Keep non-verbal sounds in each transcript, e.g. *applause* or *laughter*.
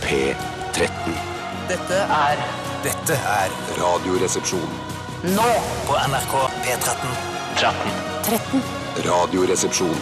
P13. Dette er Dette er Radioresepsjon. nå på NRK P13. Radioresepsjon.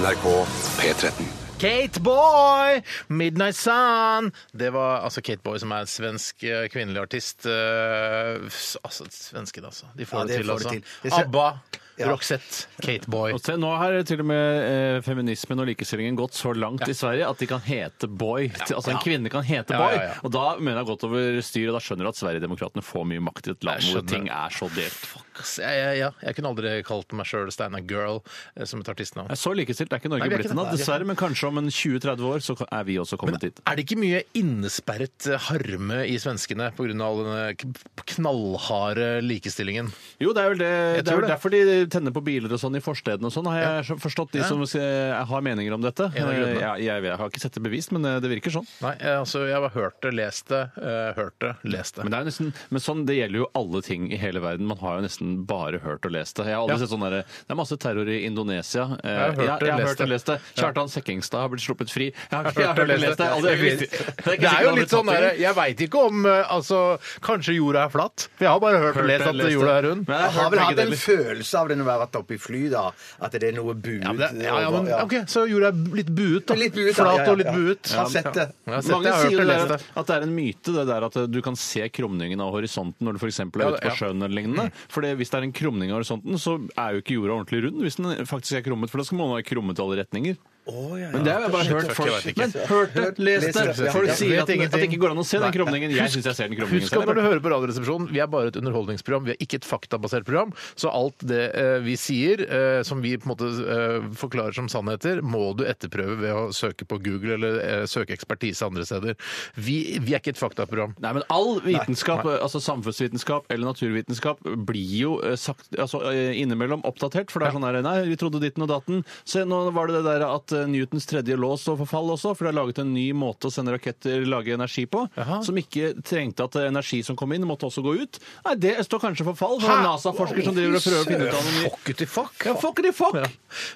NRK P13. Kate Boy! Midnight Sun! Det var altså Kate Boy, som er en svensk eh, kvinnelig artist. eh, s- altså, Svenskene, altså. De får Ja, det de til, får det altså. til. Jeg ser- ABBA, Roxette, Kate Boy. Og se, nå har til og med eh, feminismen og likestillingen gått så langt i Sverige at de kan hete boy. Altså en kvinne kan hete Ja, boy. ja, ja. Og da mener jeg har gått over styr, og da skjønner du at Sverigedemokraterna får mye makt i et land Jeg hvor skjønner. ting er så delt. Ass, Jeg, jeg, ja, jeg kunne aldri kalt meg sjøl Steinar Girl eh, som et artistnavn. Jeg er så likestilt det er ikke Norge Nei, vi er blitt ikke ennå, det. dessverre. Men kanskje om en 20-30 år så er vi også kommet dit. Er det ikke mye innesperret eh, harme i svenskene pga. all denne k- knallharde likestillingen? Jo, det er vel det. Jeg Det er tror vel det. derfor de tenner på biler og sånn i forstedene og sånn, har jeg så- forstått, de Ja. som eh, har meninger om dette. En av grunnene. Eh, Jeg, jeg, jeg har ikke sett det bevist, men eh, det virker sånn. Nei, jeg, altså, jeg har bare hørt det, lest det, eh, hørt det, lest det. Men, det er jo nesten, men sånn, det gjelder jo alle ting i hele verden. Man har jo nesten bare hørt og lest det. Jeg har aldri Ja. sett sånn derre Det er masse terror i Indonesia. Eh, har hørt jeg, og jeg har lest hørt og det. lest det. Kjartan Sekkingstad har blitt sluppet fri. Jeg har, jeg har hørt og lest det. Aldri, jeg visste- Altså, Det ikke er sikkert jo han litt har sånn blitt tatt der, i. Jeg veit ikke om eh, Altså, kanskje jorda er flat? For jeg har bare hørt og lest at jorda er rund. Men Ja, jeg Jeg har har vel hørt hatt begge en deler. følelse av det når vi har vært oppe i fly, da. At det er noe buet. men det, ja, ja, men, over- ja. OK, så jorda er litt buet, da. Litt buet, ja, ja, Flat ja, og litt ja. buet. Jeg har sett det. Ja, Jeg har sett Mange det, jeg har sier hørt og det lest der, det. at det er en myte det der at du kan se krumningen av horisonten når du f.eks. er det- ute på ja. sjøen eller lignende. For hvis det er en krumning av horisonten, så er jo ikke jorda ordentlig rund hvis den faktisk er krummet, for da skal man være krummet i alle retninger. Å, ja, ja. Men det har jeg bare jeg hørt vet folk ikke. Men hørt det, lest Lest det, det. ja. Folk Jeg sier vet at, den- at det ingenting. ikke går an å se Nei. den krumningen. Jeg syns jeg ser den krumningen Husk at når du selv. hører på Radioresepsjonen, vi er bare et underholdningsprogram, vi er ikke et faktabasert program, så alt det eh, vi sier, eh, som vi på en måte eh, forklarer som sannheter, må du etterprøve ved å søke på Google eller eh, søke ekspertise andre steder. Vi, vi er ikke et faktaprogram. Nei, men all vitenskap, altså samfunnsvitenskap eller naturvitenskap, blir jo eh, sagt, altså, eh, innimellom oppdatert. For det er sånn her Nei, vi trodde ditten og datten. Se, nå var det det der at eh, Newtons tredje lås står for fall også, for de har laget en ny måte å sende raketter, lage energi på, Jaha. som ikke trengte at eh, energi som kom inn, måtte også gå ut. Nei, det står kanskje for fall. Det var Hæ? en NASA-forsker som driver og prøver å finne ut av noe nytt. Fuck uti fuck! Ja, fuck it, fuck! Ja.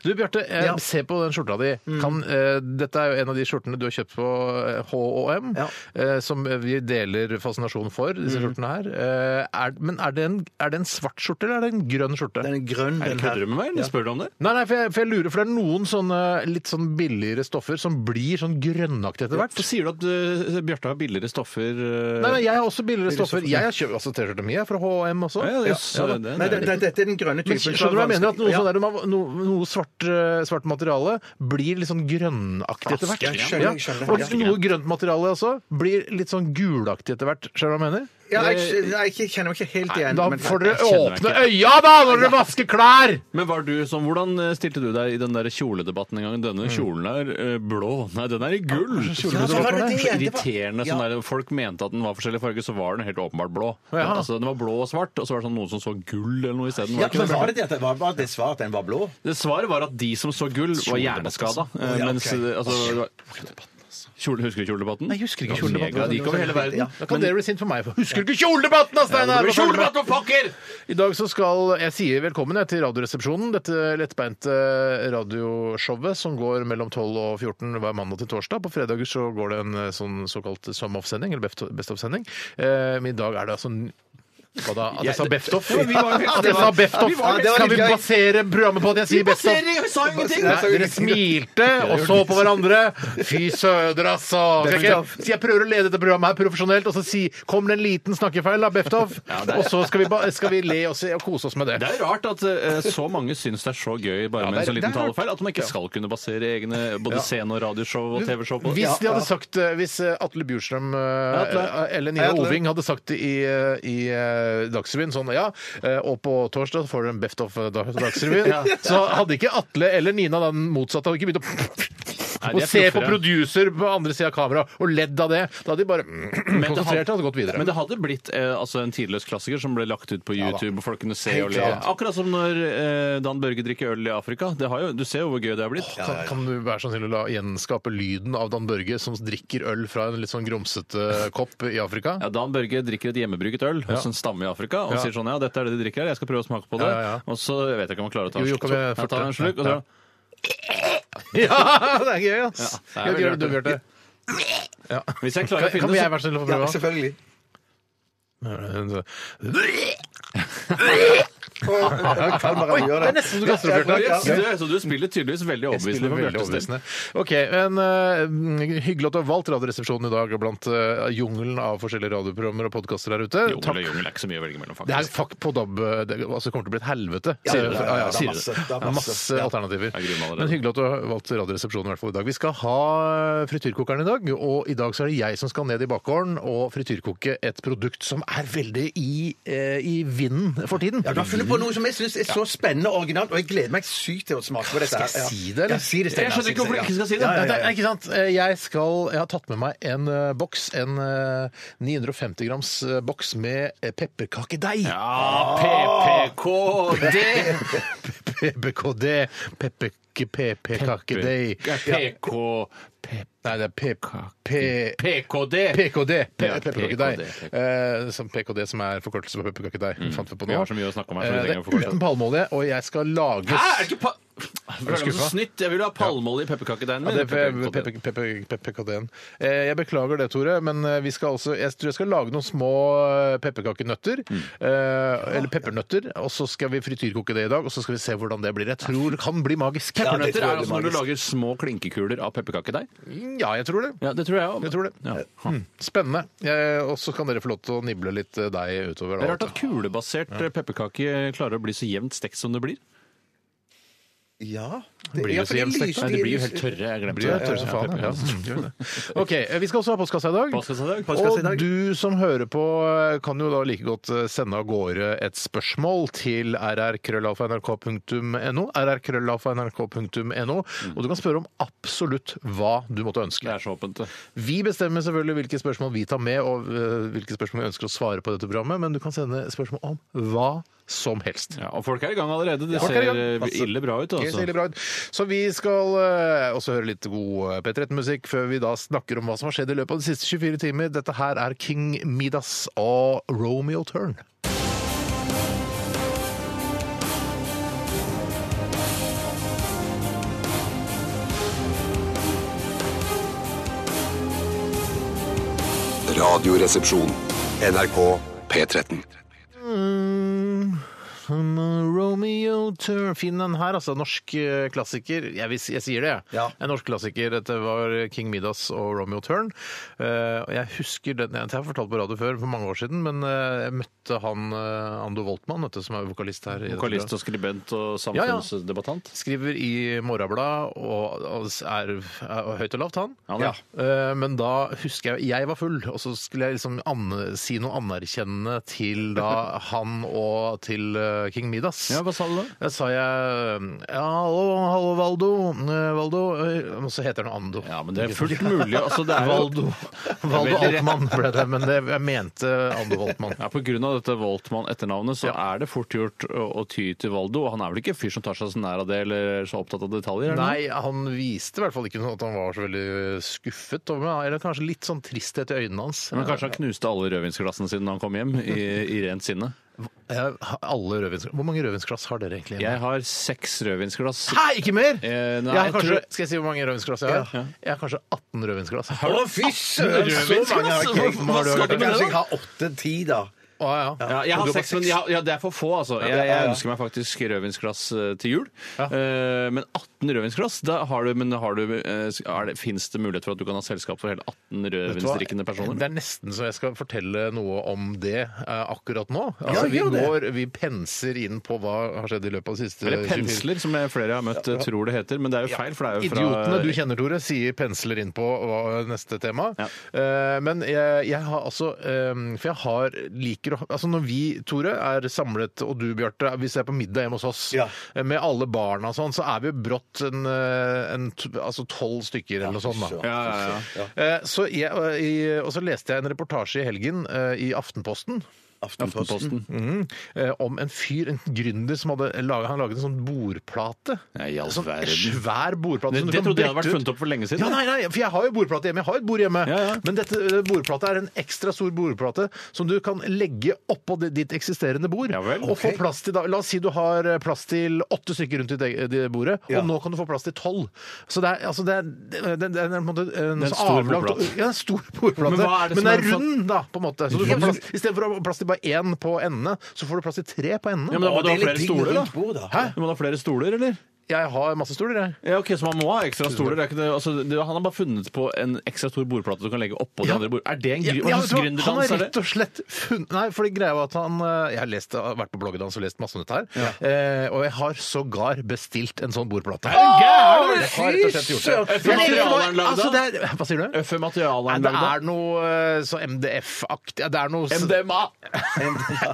Du Bjarte, eh, Ja. se på den skjorta di. Kan, eh, dette er jo en av de skjortene du har kjøpt på eh, H&M, Ja. eh, som vi deler fascinasjon for, disse skjortene her. Eh, er, men er det, en, er det en svart skjorte, eller er det en grønn skjorte? Den er grønn, Er det den kødder her. du med meg, eller spør du om det? Nei, nei, for jeg, for jeg lurer, for det er noen sånne litt sånn billigere stoffer som blir sånn grønnaktig etter hvert. Så sier du at eh, Bjarte har billigere stoffer eh, Nei, nei, jeg har også billigere stoffer. Jeg har kjøpt altså, T-skjorta mi er fra H&M også. Ja, ja, det er så- da. det- det er Nei, det- det- dette er den grønne Men typen. så skjønner du hva jeg mener? At noe, vanskelig- sånn der, man- noe, noe svart, eh, svart materiale blir litt sånn grønnaktig etter hvert. Ja, skjønner, jeg skjønner. Og Ja. noe grønt materiale også blir litt sånn gulaktig etter hvert. Skjønner du hva jeg mener? Ja, jeg, nei, jeg kjenner meg ikke helt igjen. Da men- får dere kjenner meg åpne øya da når dere vasker klær! Men var du som, Hvordan eh, stilte du deg i den der kjoledebatten en gang? Denne kjolen er eh, blå, nei, den er i gull! Ja, så var det det, det Så var- irriterende Ja. sånn der, Folk mente at den var forskjellig farge, så var den helt åpenbart blå. Ja. Altså, den var blå og svart, og så var det sånn noen som så gull eller noe isteden. Ja, Var det ikke men det? var det det at det var, var det svaret at den var blå? Det svaret var at de som så gull, var hjerneskada. eh, ja, Mens ok. eh, altså, det var- Kjole, Husker du kjoledebatten? Nei, jeg husker ikke Det var kjoledebatten. mega- Det gikk over hele verden. Ja. Da kan dere bli sint på meg. for Husker du ikke kjoledebatten, da, Steinar? blir kjoledebatt, I dag så skal jeg sier velkommen jeg, til Radioresepsjonen. Dette lettbeinte eh, radioshowet som går mellom 12 og 14 hver mandag til torsdag. På fredager så går det en eh, sånn såkalt sum off-sending, eller beft- best of-sending. Eh, Men i dag er det altså n- hva da? At jeg sa Beft Off? Ja, men vi var- At jeg sa Beft Off! Ja, det var Skal vi litt gøy. basere programmet på at jeg sier Beft Off? Jeg sa ingenting! Nei, dere smilte og så på hverandre. Fy søder, altså! Skal ikke jeg, så jeg prøver å lede dette programmet her profesjonelt, og så si, kommer det en liten snakkefeil, da, Beftov? Og så skal vi, ba, skal vi le og, se, og kose oss med det. Det er rart at eh, så mange syns det er så gøy bare Ja, med det er- en så det liten er rart. talefeil at man ikke skal kunne basere egne både scene- og radioshow og TV-show på det. Hvis de hadde sagt eh, Hvis eh, Atle Bjurstrøm eh, Atle. eller Hei, Nina Atle. Oving hadde sagt det i, eh, i eh, Dagsrevyen sånn ja, eh, og på torsdag får dere en beft of eh, Dag- *laughs* Dagsrevyen, så hadde ikke Atle eller Nina den motsatte hadde ikke begynt å Nei, og de er se på proffere. producer på andre sida av kamera og ledd av det. Da hadde de bare *clears throat* konsentrert seg og gått videre. Men det hadde blitt eh, altså en tidløs klassiker som ble lagt ut på YouTube, og folk kunne se Helt og le. klart. Akkurat som når eh, Dan Børge drikker øl i Afrika. Det har jo, du ser jo hvor gøy det er blitt. Kan, kan du være sånn til å la gjenskape lyden av Dan Børge som drikker øl fra en litt sånn grumsete kopp i Afrika? Ja, Dan Børge drikker et hjemmebrygget øl hos en stamme i Afrika og Ja. sier sånn Ja, dette er det de drikker her, jeg skal prøve å smake på det. Ja, ja, ja. Og så jeg vet jeg ikke om han klarer å ta Jo, en jo, slurk. kan vi Ja, ta en slurk, og fortsette? så *laughs* Ja, det er gøy, ass! Ja, det er veldig Gjør det du, artig. Bjarte. Ja. Hvis jeg klarer å Kan- finne Kan det, jeg være så snill å få Ja, prøve? selvfølgelig. Ja, Karl Oi, det er nesten som du kaster opp, Bjarte. Så du- Så du spiller tydeligvis veldig Jeg overbevisende. spiller for veldig Bjarte Steen. overbevisende. Ok, en, eh, Hyggelig at du har valgt Radioresepsjonen i dag blant eh, jungelen av forskjellige radioprogrammer og podkaster der ute. Jungel Takk. og jungel er ikke så mye å velge mellom, Det er faktisk. fuck på DAB eh, det altså, det kommer til å bli et helvete. Ja, sier- ja, ja, ja, det er sier masse, det er Ja, masse. masse Ja. alternativer. Jeg gruer meg allerede. Men hyggelig at du har valgt Radioresepsjonen i hvert fall i dag. Vi skal ha eh, frityrkokeren i dag, og i dag så er det jeg som skal ned i bakgården og frityrkoke et produkt som er veldig i, eh, i vinden for tiden. Ja, du har funnet på noe som jeg syns er så spennende og originalt, og jeg gleder meg sykt til å smake på dette. her. Skal jeg si det, Ja. eller? Ja, si det, Steinar, Jeg skjønner ikke si hvorfor du ja. ikke skal si det. Ja, ja, Nei, ja, det ja. er ikke sant. Eh, Jeg, skal, jeg har tatt med meg en eh, boks, en eh, 950 grams eh, boks med eh, pepperkakedeig. *laughs* Ja, PPKD! PBKD. Pepperke, pepperkakedeig. PK... Nei, det er pep... PKD! PKD. pe- Ja, Pepperkakedeig. PKD. Eh, som PKD som er forkortelse for pepperkakedeig. Fant vi på Mm. Vi nå. har så mye å snakke om her, så vi Eh, trenger å det forkorte er uten palmeolje, og jeg skal lages Hæ, er det ikke pa... Er det skuffa? så snytt? Jeg vil ha palmeolje i pepperkakedeigen Ja, min. det er pe- pe- pe- pe- pepperkakeen. Eh, Jeg beklager det, Tore, men eh, vi skal altså, jeg tror jeg skal lage noen små eh, pepperkakenøtter. eh, Eller peppernøtter. Og så skal vi frityrkoke det i dag, og så skal vi se hvordan det blir. Jeg tror det kan bli magisk. Ja, det Peppernøtter tror er jeg altså blir når du magisk. lager små klinkekuler av pepperkakedeig. Ja, jeg tror det. Ja, det Hm. tror jeg òg. Jeg tror det. Ja. Spennende. Eh, Og så kan dere få lov til å nible litt eh, deig utover. Det er alt. rart at kulebasert eh, pepperkake klarer å bli så jevnt stekt som det blir. Ja. Blir ja, det så for de jevnstekt? lyser- Nei, det blir jo helt tørre. Jeg Blir glemte det tørre som faen, ja. Mm, gjør det. OK. eh, Vi skal også ha postkassa i dag. Påskesalat. Postkasse Og i dag. du som hører på, eh, kan jo da like godt eh, sende av gårde et spørsmål til rrkrøllalfa.nrk.no. rrkrøllalfa.nrk.no. Og du kan spørre om absolutt hva du måtte Det ønske. er så åpent. det. Vi bestemmer selvfølgelig hvilke spørsmål vi tar med, og øh, hvilke spørsmål vi ønsker å svare på i dette programmet, men du kan sende spørsmål om hva som helst. Ja, og folk er i gang allerede. Det Folk er i ser gang. eh, Masse. ille bra ut. Det ser Altså. veldig bra ut. Så vi skal eh, også høre litt god eh, P13-musikk før vi da snakker om hva som har skjedd i løpet av de siste 24 timer. Dette her er King Midas og Romeo Turn. Radioresepsjon. NRK P13. Mm. Romeo Turn. Finn den her, altså. Norsk eh, klassiker. Jeg, vil, si- jeg sier det, jeg. Ja. En norsk klassiker. Dette var King Midas og Romeo Turn. Eh, og jeg husker den Jeg har fortalt på radio før for mange år siden, men eh, jeg møtte han eh, Ando Voltmann, vet du, som er vokalist her. i dette Vokalist og skribent og Ja, ja. samfunnsdebattant. Skriver i Morgenbladet og og er, er høyt og lavt, han. Han er. Eh, Men da husker jeg Jeg var full, og så skulle jeg liksom an si noe anerkjennende til *laughs* da han og til eh, King Midas. Ja, hva sa du da? Da sa jeg ja, hallo, hallo, Valdo. eh, Valdo eh, Og så heter han Ando. Ja, men det er fullt mulig. Altså, det er jo... Valdo, *laughs* Valdo Altmann ble det, men det, jeg mente Ando Altmann. *laughs* Ja, Pga. dette Voltmann-etternavnet så er det fort gjort å, å ty til Valdo. Og han er vel ikke en fyr som tar seg så nær av det eller så opptatt av detaljer? er han? Nei, han viste i hvert fall ikke noe at han var så veldig skuffet over meg. Eller kanskje litt sånn tristhet i øynene hans. Men kanskje han knuste alle rødvinsglassene sine da han kom hjem, i, i rent sinne. Jeg har alle rødvinsglass. Hvor mange rødvinsglass har dere egentlig? Jeg har seks rødvinsglass. Hæ, ikke mer?! Eh, nei, jeg har jeg kanskje, tror- Skal jeg si hvor mange rødvinsglass jeg har? Jeg har kanskje 18 rødvinsglass. Å, fy søren! Så Rødvinsglass? mange har ikke jeg. Hva- hva skal du med det, Kanskje jeg da? har åtte-ti, da. Å, ja. Ja, jeg Og har du har seks, bare men seks. jeg, har- ja, det er for få, altså. Jeg, ja, jeg ja. ønsker meg faktisk rødvinsglass eh, til jul. Eh, men 18 rødvinsglass, da har du, men har du, eh, er det, finnes det mulighet for at du kan ha selskap for hele 18 Vet du hva? rødvinsdrikkende personer? Det er nesten så jeg skal fortelle noe om det eh, akkurat nå. Altså, vi, gjør det. går, vi penser inn på hva har skjedd i løpet av de siste Eller 24 pensler, som jeg- flere jeg har møtt, eh, tror det heter. Men det er jo feil, for det er jo fra Idiotene du kjenner, Tore, sier pensler inn på hva- neste tema. Ja. Eh, men jeg, jeg har altså eh, For jeg har liker å Altså når vi, Tore, er samlet, og du, Bjarte, hvis jeg er på middag hjemme hos oss Ja. eh, med alle barna og sånn, så er vi brått en, eh, en t- altså tolv stykker eller noe sånt. da. Ja, ja, ja. Eh, Så jeg, og i- og så leste jeg en reportasje i helgen eh, i Aftenposten Aftenposten. Aftenposten. eh, om en fyr, en gründer, som hadde laget, han laget en sånn bordplate. Ja, i all En sånn verden. svær bordplate. Det, som du det kan trodde jeg hadde vært brette ut. funnet opp for lenge siden. Ja, nei, nei, for jeg har jo bordplate hjemme. Jeg har et bord hjemme. Ja, ja. Men dette eh, bordplate er en ekstra stor bordplate som du kan legge oppå det- ditt eksisterende bord. Ja vel. Og få plass til da, La oss si du har eh, plass til åtte stykker rundt ditt e- det bordet, Ja. og nå kan du få plass til tolv. Så det er altså det er, det er, det er, på en måte en, så Det er en stor avlangt- bordplate. Ja, en stor *laughs* bordplate. Men hva er det Men som den er er sånn- rund, da, på en måte. Så du får men- plass, Istedenfor å ha plass til bare én på endene, så får du plass til tre på endene. Ja, men da må Og du det ha er flere litt digg stoler, rundt bord, da. da. Hæ? Du må ha flere stoler, eller? Jeg har masse stoler, jeg. Ja, ok, Så man må ha ekstra stoler? Det er ikke det, altså, det, han har bare funnet på en ekstra stor bordplate du kan legge oppå de Ja. andre bord. Er det en Ja, gry- ja, vet hva slags du hva? han gründerdans har er rett det? og slett funnet Nei, for det greia var at han eh, Jeg har lest, jeg har vært på bloggen hans og lest masse om dette her. Eh, og jeg har sågar bestilt en sånn bordplate. gæren, Jeg har rett og slett gjort det. Fy søren! Jeg vet ikke hva- Materialen er lagd altså, det er- Hva sier du? Øffe materialet Nei, han det lagde? er noe eh, så MDF-aktig ja, Det er noe *laughs* MDMA!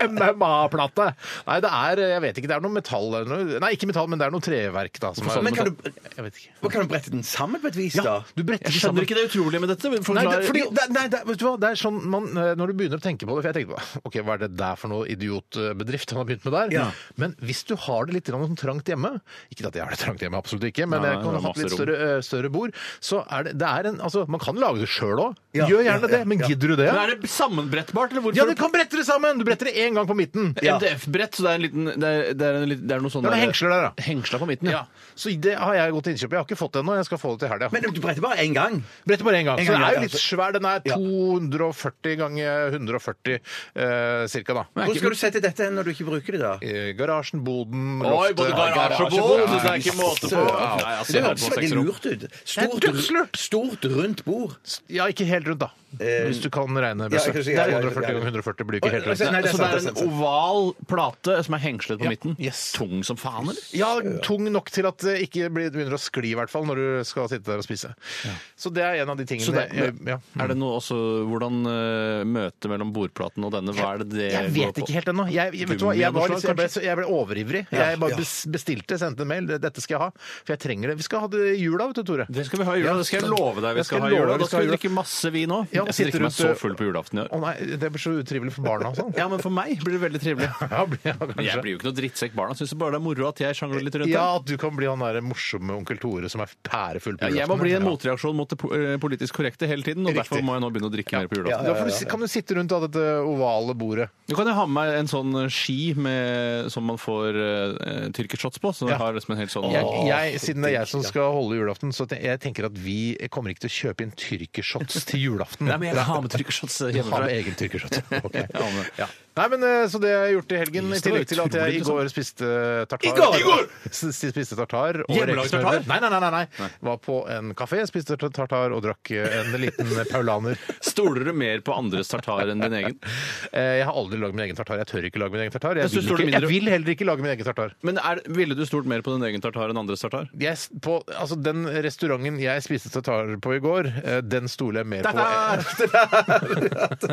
MMA-plate. Nei, det er eh, Jeg vet ikke. Det er noe metall eller noe- Nei, ikke metall, men det er noe treverk, da. Som er, Men kan du, Jeg vet ikke. hva kan du brette den sammen på et vis, da? Du bretter Jeg de skjønner sammen. ikke det utrolige med dette. men Nei, forklar- det, fordi, det, nei det, vet du hva? det er sånn man, eh, Når du begynner å tenke på det For jeg tenkte på, ok, hva er det der for noe idiotbedrift han har begynt med der? Ja. Men hvis du har det litt grann sånn trangt hjemme Ikke at jeg har det trangt hjemme, absolutt ikke, men Nei, jeg kan det er ha hatt litt masse større, eh, større bord. Så er det, det er en Altså, man kan lage det sjøl òg. Ja, Gjør gjerne ja, ja, det, men ja. gidder du det? Men er det sammenbrettbart, eller hvorfor? Ja, du kan brette det sammen! Du bretter det én gang på midten. Ja. MDF-brett, så det er, en liten, det, er, det, er en liten, det er noe sånn Det er noen der- hengsler der, da. Hengsler på midten, Ja. ja. Så det har jeg gått til innkjøp. Jeg har ikke fått det ennå. Jeg skal få det til helga. Men du bretter bare én gang. Bretter bare én gang. En Så gang, den er ja, jo ja. litt svær. Den er Ja. 240 ganger 140 eh, cirka, da. Hvor skal du sette dette hen når du ikke bruker det, da? Eh, garasjen, boden, eh, Oi, både garasje og bod! Ja, Det er ikke måte på. Søren. Nei, altså, Det det er høres på veldig seks rom. lurt ut. Det er Stort, dødslurt. stort rundt bord. Ja, ikke helt rundt, da. Hvis du kan regne. ja, Bjørse. jeg kan si- det er ja, ja, 140 ja, ja. ganger 140 blir ikke helt rundt. Nei, det er så sant, det er det er en sant. oval plate som er hengslet på Ja. midten? Yes. Tung som faen, eller? Ja, tung nok til at det ikke blir, begynner å skli, i hvert fall, når du skal sitte der og spise. Så det er en av de tingene Så det, jeg- ja. Er det noe også Hvordan uh, møtet mellom bordplaten og denne, hva er det det Jeg går vet på? ikke helt ennå. Jeg, jeg, vet du hva, jeg, Gummi av var noe litt- slag, jeg, ble, så- jeg ble overivrig. Jeg bare ja. bes- bestilte, sendte en mail. Dette skal jeg ha, for jeg trenger det. Vi skal ha det i jula, vet du, Tore. Det skal vi ha i jula. Ja. Det skal jeg love deg. Jeg vi skal skal ha i love jula. deg vi Da skal skal ha vi i drikke masse vin òg. Ja, jeg drikker sitter eh, meg så rundt, full på julaften i Å år. nei, det blir så utrivelig for barna og sånn. Ja, men for meg blir det veldig trivelig. Ja, blir- ja, kanskje. Jeg blir jo ikke noe drittsekk barna. Syns bare det er moro at jeg sjangler litt rundt. Ja, her. at du kan bli han der morsomme onkel Tore som er pærefull på Ja, jeg må julaften. bli en Ja. motreaksjon mot det po- eh, politisk korrekte hele tiden, og derfor må jeg nå begynne å drikke mer på julaften. Da får du, kan du sitte rundt da, dette ovale bordet. Du kan jo ha med meg en sånn ski med, som man får uh, tyrkershots på. Så Ja. jeg har liksom en helt sånn Jeg, jeg, siden det er jeg som skal holde julaften, så te- jeg tenker at vi kommer ikke til å kjøpe inn tyrkershots til julaften. *laughs* Nei, men jeg har med tyrkershots eh, Ha hjemmefra. med egen *laughs* tyrkershot. Ok. Jeg har med. Ja. Nei, men eh, Så det har jeg gjort i helgen, i Yes, det var tillegg til at jeg i utrolig går spiste tartar. I går! I går! S- Spiste tartar og Hjemmelaget rekesmørbrød. tartar? Nei, nei, nei, nei, nei. Var på en kafé, spiste tartar og drakk eh, en liten *laughs* paulaner. Stoler du mer på andres tartar enn din egen? Eh, Jeg har aldri lagd min egen tartar. Jeg tør ikke lage min egen tartar. Jeg Jeg vil, synes du er ikke, mindre- jeg vil heller ikke lage min egen tartar. Men er, ville du stolt mer på din egen tartar enn andres tartar? Jeg, s- på, altså, den restauranten jeg spiste tartar på i går, eh, den stoler jeg mer på *laughs*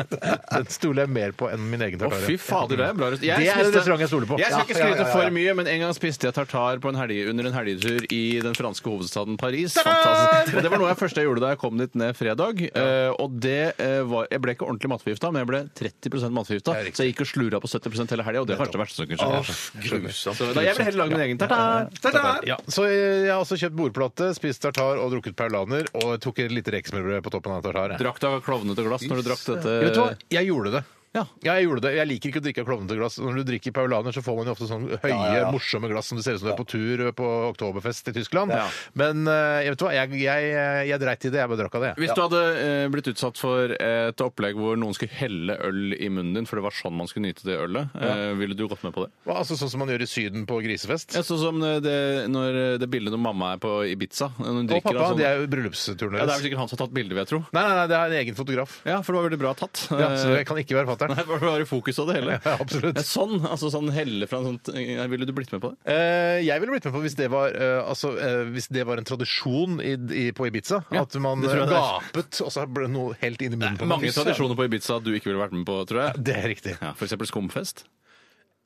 Den stoler jeg mer på enn min egen Å, tartar. fy fader, det er bra restaurant. Det er en restaurant jeg stoler på. Jeg skal ikke Ja, ja, skryte ja, ja. for mye, men en gang spiste jeg tartar på en helge, under en helgetur i den franske hovedstaden Paris. Fantastisk. Og det var noe jeg første jeg gjorde da jeg kom dit ned fredag. eh, og det eh, var Jeg ble ikke ordentlig matforgifta, men jeg ble 30 matforgifta. Det er riktig. Så jeg gikk og slura på 70 hele helga, og det er kanskje det verste som kunne skje. Grusomt. Så da- Jeg vil heller lage min egen tartar. Ta-da! Ja, så eh, jeg, jeg har også kjøpt bordplate, spist tartar og drukket paulaner, og tok et lite rekesmørbrød på toppen av tartar. jeg. Drakk du av klovnete glass når du drakk Jeg Vet du hva? dette? Jeg gjorde det. Ja. Ja, jeg gjorde det. Jeg liker ikke å drikke av klovnete glass. Når du drikker paulaner, så får man jo ofte sånne høye, morsomme glass som det ser ut som du er på tur på oktoberfest i Tyskland. Ja. Men eh, jeg vet du hva, jeg, jeg, jeg dreit i det. Jeg bare drakk av det. jeg. Hvis du hadde eh, blitt utsatt for et opplegg hvor noen skulle helle øl i munnen din, for det var sånn man skulle nyte det ølet, eh, ville du gått med på det? Hva, Altså Sånn som man gjør i Syden på grisefest. Ja, sånn som det, når det bildet når mamma er på Ibiza. Når hun Og drikker, pappa, av sånn- det er jo bryllupsturen ja, det er vel deres. sikkert han som har tatt bildet, vil jeg tro. Nei, nei, nei, det er en egen fotograf. Ja, for det var veldig bra tatt. Ja, så det kan ikke være fatter'n. *laughs* Nei, det var i fokus av det hele. Ja, absolutt. *laughs* Ja, sånn, altså sånn helle fra en sånn ja, Ville du blitt med på det? Eh, jeg ville blitt med på hvis det var, eh, altså, eh, hvis det var en tradisjon i, i, på Ibiza. Ja, at man det tror jeg det er. gapet, og så ble det noe helt inn i munnen på Mange meg. tradisjoner på Ibiza du ikke ville vært med på, tror jeg. Det er riktig. Ja, for eksempel skumfest.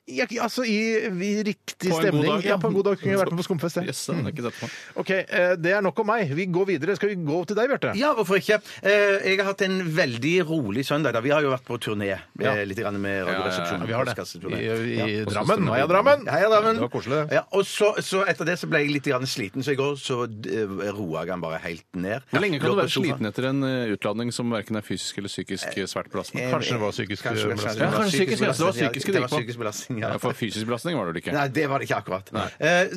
Ja, altså i, i riktig På en god stemning. dag, ja. ja. på en god dag kunne jeg vært med på skumfest. jeg. Yes, det har jeg ikke sett på. Ok, eh, Det er nok om meg. Vi går videre. Skal vi gå til deg, Bjarte? Ja, hvorfor ikke? Eh, Jeg har hatt en veldig rolig søndag. da. Vi har jo vært på turné eh, Ja. litt grann med Radioresepsjonen. vi har det. I, Postkasteturné. i Ja. Drammen. Heia Drammen! Heia, Drammen. Det var koselig, det. Ja, og så, så etter det så ble jeg litt grann sliten, så i går så eh, roa jeg han bare helt ned. Hvor lenge kan Lå du på være sofaen. sliten etter en eh, utladning som verken er fysisk eller psykisk eh, svært belastende? Kanskje det var psykisk Eh, Kanskje- belastning. kanskje Ja, kanskje psykisk belastning. Det var belastning, ja. psykisk det Det gikk var på. psykisk belastning, ja. Ja, for fysisk belastning var det vel ikke? Nei, det var det ikke akkurat. Nei,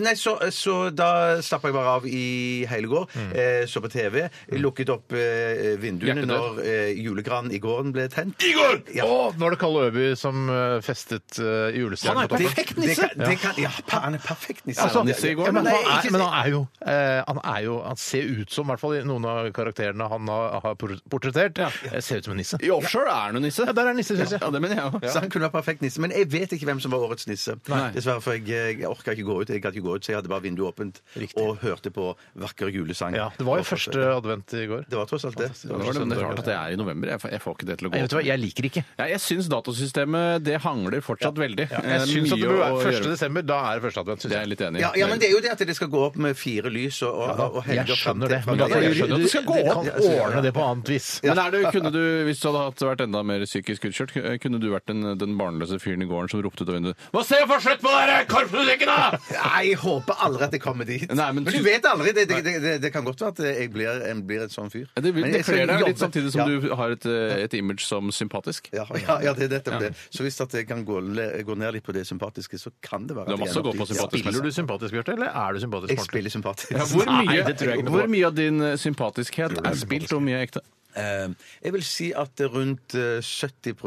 nei så, så da slapp jeg bare av i hele går. Eh, så på TV. Lukket opp eh, vinduene Hjertedør. når eh, julegranen i gården ble tent. I går! Ja. Å, nå er det Kalle Øby som eh, festet eh, julestjernen på toppen. perfekt nisse! Det, det kan, ja, pa- han er perfekt nisse. Altså, Ja, ja, ja. Ja, men, Nei, han er, ikke- men han er jo eh, Han er jo, han ser ut som, i hvert fall i noen av karakterene han har, har por- portrettert, eh, ser ut som en nisse. I offshore er han jo nisse. Ja, der er nisse, synes jeg. Ja, det mener jeg òg. Så han kunne vært perfekt nisse, men jeg vet ikke hvem som var årets nisse. Nei. Dessverre, for jeg, jeg orka ikke gå ut. Jeg gadd ikke gå ut, så jeg hadde bare vinduet åpent og hørte på vakker julesang. Ja, det var Og- jo første advent i går. Det var tross alt det. Det var det, men det er rart at det er i november. Jeg får, jeg får ikke det til å gå. Nei, vet du hva, jeg liker ikke. Nei, jeg syns datasystemet det hangler fortsatt veldig. Jeg Eh, syns at mye det bør å være gjøre. 1. desember. Da er det første advent. Synes Det er jeg. jeg litt enig i. Ja, ja, men det er jo det at det skal gå opp med fire lys og, og, og helger Jeg frem skjønner til- det. Men da Ja, får ja, du jeg skjønner du det. skal gå Ja, an ja, å ordne det på annet vis. Men er det, kunne du, Hvis du hadde hatt- vært enda mer psykisk utkjørt, kunne du vært den, den barnløse fyren i gården som ropte ut av vinduet Hva ser jeg for slutt på dere, *laughs* korpsmusikkene?! Nei, jeg håper aldri at jeg kommer dit. Nei, men men, tu- du vet aldri. Det, det, det, det kan godt være at jeg blir, en, blir en sånn fyr. Det, vil- Men det jeg skal kler deg jobbe. litt samtidig som ja. du har et, eh, et image som sympatisk. ja, ja, ja, det er nettopp det. Så hvis at jeg kan gå, le- gå ned litt på det sympatiske, så kan det være Du har at jeg masse å gå ender opp på dit. sympatisk. Spiller du sympatisk, Bjarte, eller er du sympatisk? Ja. Jeg Morten? spiller sympatisk. Hvor mye, Nei, det tror jeg ikke noe på. hvor mye av din eh, sympatiskhet er spilt, og hvor mye er ekte? Eh, Jeg vil si at rundt eh, 70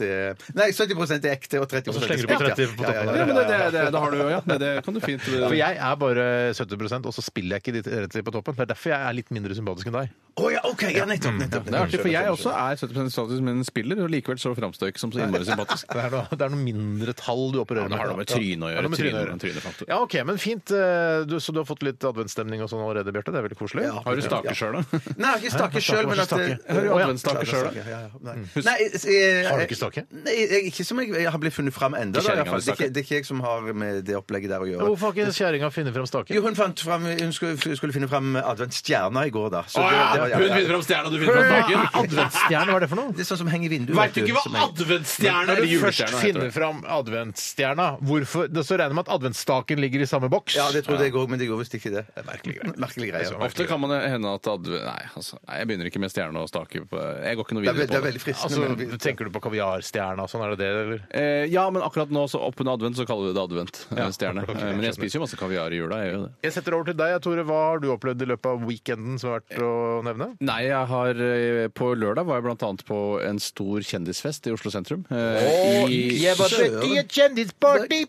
eh, Nei, 70 er ekte, og 30 Og så slenger du på er 30 på Ja, ja, toppen. ja, Ja, ja, men ja, det, det, det, det har du jo, ja. Det, det kan du fint eh, For jeg er bare 70 og så spiller jeg ikke ditt rett på toppen. Det er derfor jeg er litt mindre sympatisk enn deg. Å ja, OK! Ja, nettopp. nettopp, Mm. Det er artig, nettopp. for jeg også er 70 status, men spiller, og likevel så framstår jeg ikke som så innmari sympatisk. Det er noe, det er noe mindre tall du opererer Ja, det har noe med tryne å Ja, gjøre. det har med tryne å Tryne- gjøre. trynefaktor. Ja, OK, men fint. eh, Du, så du har fått litt adventsstemning og sånn allerede, Bjarte? Det er veldig koselig. Ja. Har du staker sjøl, *laughs* da? Nei, jeg har ikke stakke sjøl, men at Stake. Jeg Mm. har jo Å, ja. adventsstaker Ja, sjøl. ja, ja, ja. Nei. Nei, jeg- Har du ikke stake? Nei, jeg, ikke som jeg, jeg har blitt funnet fram ennå. Det, det, er Ikke kjerringa du ikke- det er ikke jeg som har med det opplegget der å gjøre. Hvorfor har ikke kjerringa funnet fram Jo, staken? hun, fant fram, hun skulle, skulle finne fram adventsstjerna i går, da. Så Å det- ja! det var- ja, Hun ja. finner fram stjerna, du finner fram staken! Adventsstjerne, hva er det for noe? Det er sånn som henger i vinduet. Veit du ikke hva som henger- adventsstjerne Når eller du først julestjerne finner heter? fram adventsstjerna, hvorfor Det så regner jeg med at adventsstaken ligger i samme boks. Ja, det trodde jeg òg, men det gjorde visst ikke det. merkelig Merkelig greie. det? Ofte kan man hende at adve... Nei, altså, nei, jeg begynner ikke med stjerne og stake. på- Jeg går ikke noe Det er, ve- det er videre på det. veldig fristende. men Altså, tenker du på kaviarstjerna og sånn, er det det, eller? Eh, ja, men akkurat nå, så oppunder advent, så kaller vi det advent. eh, Stjerne. ok, Eh, Men jeg jeg spiser jo masse kaviar i jula. jeg gjør jo det. Jeg setter over til deg, Tore. Hva har du opplevd i løpet av weekenden som er verdt å nevne? Nei, jeg har eh, På lørdag var jeg blant annet på en stor kjendisfest i Oslo sentrum. Eh, i- Jeg var født i et kjendisparty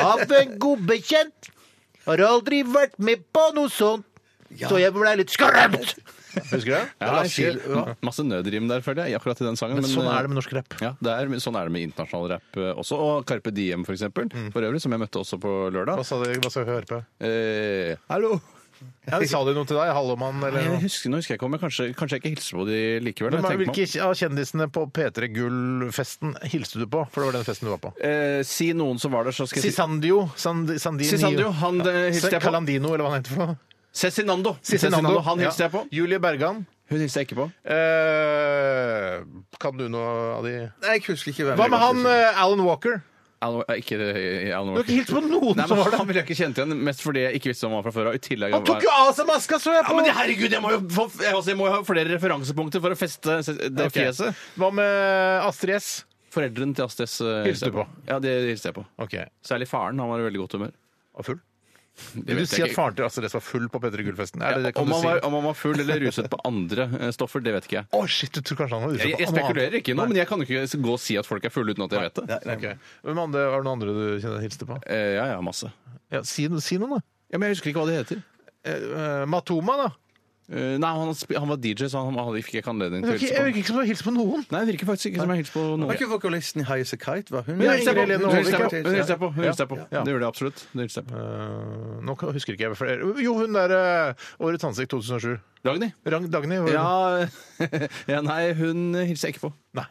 av en god bekjent. Har aldri vært med på noe sånt, så jeg ble litt skrømt. Husker du det? Ja, La jeg oss si- husker- ma- masse nødrim der, føler jeg, i akkurat i den sangen. Men sånn eh, er det med norsk rap. ja, det er, sånn er det med internasjonal rapp eh, også. Og Carpe Diem, for eksempel. For øvrig, som jeg møtte også på lørdag. Hva sa de? Hva skal vi høre på? Eh, hallo! Ja, de sa de noe til deg? Hallomann, eller Jeg noe? husker, nå husker jeg ikke om jeg kanskje, kanskje jeg ikke hilser på de likevel. Hvem jeg er, tenker meg om. hvilke av kjendisene på P3 Gull-festen hilste du på? For det var den festen du var på. Eh, si noen som var der, så skal jeg si Sisandio? Sand, Sandinio? Sisandio, han eh, hilste jeg på. Calandino, eller hva han heter for noe? Cezinando. Cezinando, Han hilste ja. jeg på. Julie Bergan. Hun hilste jeg ikke på. Eh, kan du noe av de Nei, jeg husker ikke hvem Hva jeg med var. han eh, Alan Walker? Alan, eh, ikke eh, Alan Du har Walker. ikke hilst på noen Nei, som men var Han der. ville jeg ikke kjent igjen, mest fordi jeg ikke visste hvem han var fra før av. i tillegg- Han tok jo av seg maska, så jeg Ja, på! men det- herregud, jeg må jo få, jeg, altså, jeg må jo ha flere referansepunkter for å feste se- det Ok. fjeset. Hva med Astrid S? Foreldrene til Astes eh, Hilste du på? Ja, det hilste jeg på. Ok. Særlig faren. Han var i veldig godt humør. Og full? Det Vil vet du si jeg at ikke. faren til Astrid S var full på P3 Gull-festen? Er det det kan om, du han si? var, om han var full eller ruset på andre eh, stoffer, det vet ikke jeg. Å, shit, du tror kanskje han var ute Jeg, jeg spekulerer ikke nå, men jeg kan jo ikke gå og si at folk er fulle uten at jeg vet det. Hvem andre, er det noen andre du kjenner hilste på? Eh, Ja, ja, masse. Ja, si, si noen, da. Ja, Men jeg husker ikke hva de heter. Eh, eh, Matoma, da. Eh, Nei, han, sp- han var DJ, så han, han fikk ikke anledning til å Jeg hilse på. virker ikke som du har hilst på noen. Nei, det virker faktisk ikke som jeg hilser på Var noen. ikke vokalisten i High As A Kite? Var hun eh, Hun hilser jeg på! Ingrid Lene Hun hilser jeg på! Håvik, Hun hilser jeg på! Hun hilser jeg på. Ja. Det gjør det absolutt. Det hilser jeg på. Eh, nå kan- husker ikke jeg flere. Jo, hun der eh, Årets ansikt 2007. Dagny? Rang Dagny. *laughs* var hun- Ja, ja Nei, hun hilser jeg ikke på. Nei.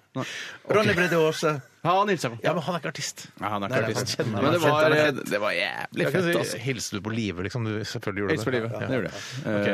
Ronny Brede Aase. Ja, han hilser på. Ja, men han er ikke artist. Nei, han er Nei, ikke nei, artist. han kjenner Men det meg. var, eh, Fett, han er det var jævlig Jeg kan fett, si, altså. Hilste du på live, liksom? Du selvfølgelig gjorde Hilser på det. livet. Ja. Det gjorde jeg.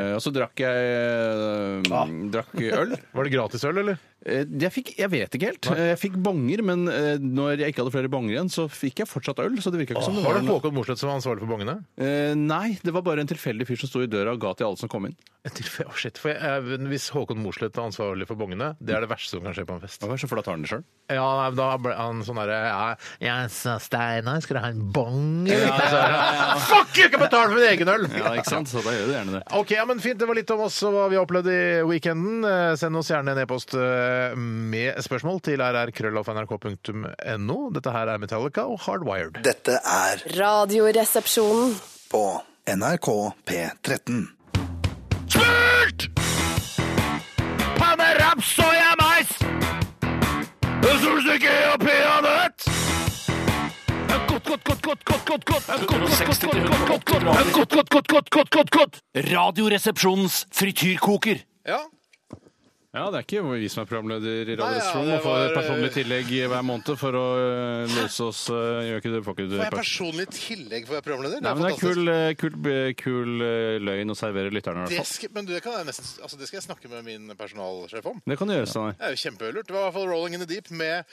Eh, og så drakk jeg eh, drakk øl. Var det gratis øl, eller? *laughs* Eh, Jeg, fikk, jeg vet ikke helt. Eh, Jeg fikk bonger, men eh, når jeg ikke hadde flere bonger igjen, så fikk jeg fortsatt øl. Så det virka ikke som det Var var det noe. Håkon Mosleth som var ansvarlig for bongene? Eh, Nei, det var bare en tilfeldig fyr som sto i døra og ga til alle som kom inn. Et tilfelle- Å, shit, for jeg, eh, Hvis Håkon Mosleth er ansvarlig for bongene, det er det verste som kan skje på en fest. Hva er det, for da tar han det sjøl. Ja, nei, da ble han sånn derre ja, Jeg sa Steinar, skal du ha en bong? ja, ja, ja. Fuck, jeg kan betale for min egen øl! *laughs* Ja, ikke sant? Så da gjør du gjerne det. Ok, ja, men Fint. Det var litt om oss og hva vi har opplevd i weekenden. Eh, Send oss gjerne en e-post eh, med spørsmål til rrkrøllalfnrk.no. Dette her er Metallica og Hardwired. Dette er Radioresepsjonen. på NRK P13. Smurt! Panne, raps, soya, mais! Solstykke og peanøtt! Godt, godt, godt, godt, godt, godt, godt, godt, godt, godt, godt, godt, godt, godt, godt, godt, godt, godt. Radioresepsjonens frityrkoker. Ja, Ja, det er ikke vi som er programleder i Nei, ja, Radioresepsjonen det og får var- personlig tillegg hver måned for å eh, løse oss eh, Gjør ikke det, får ikke du får jeg personlig tillegg for å være programleder? Nei, men det er fantastisk. kul, eh, kul, eh, kul eh, løgn å servere lytterne, i Det hvert fall. skal, men det, kan jeg nesten, altså det skal jeg snakke med min personalsjef om. Det kan du gjøre, Steinar. Det er jo kjempelurt. Det var i hvert fall 'Rolling in the Deep' med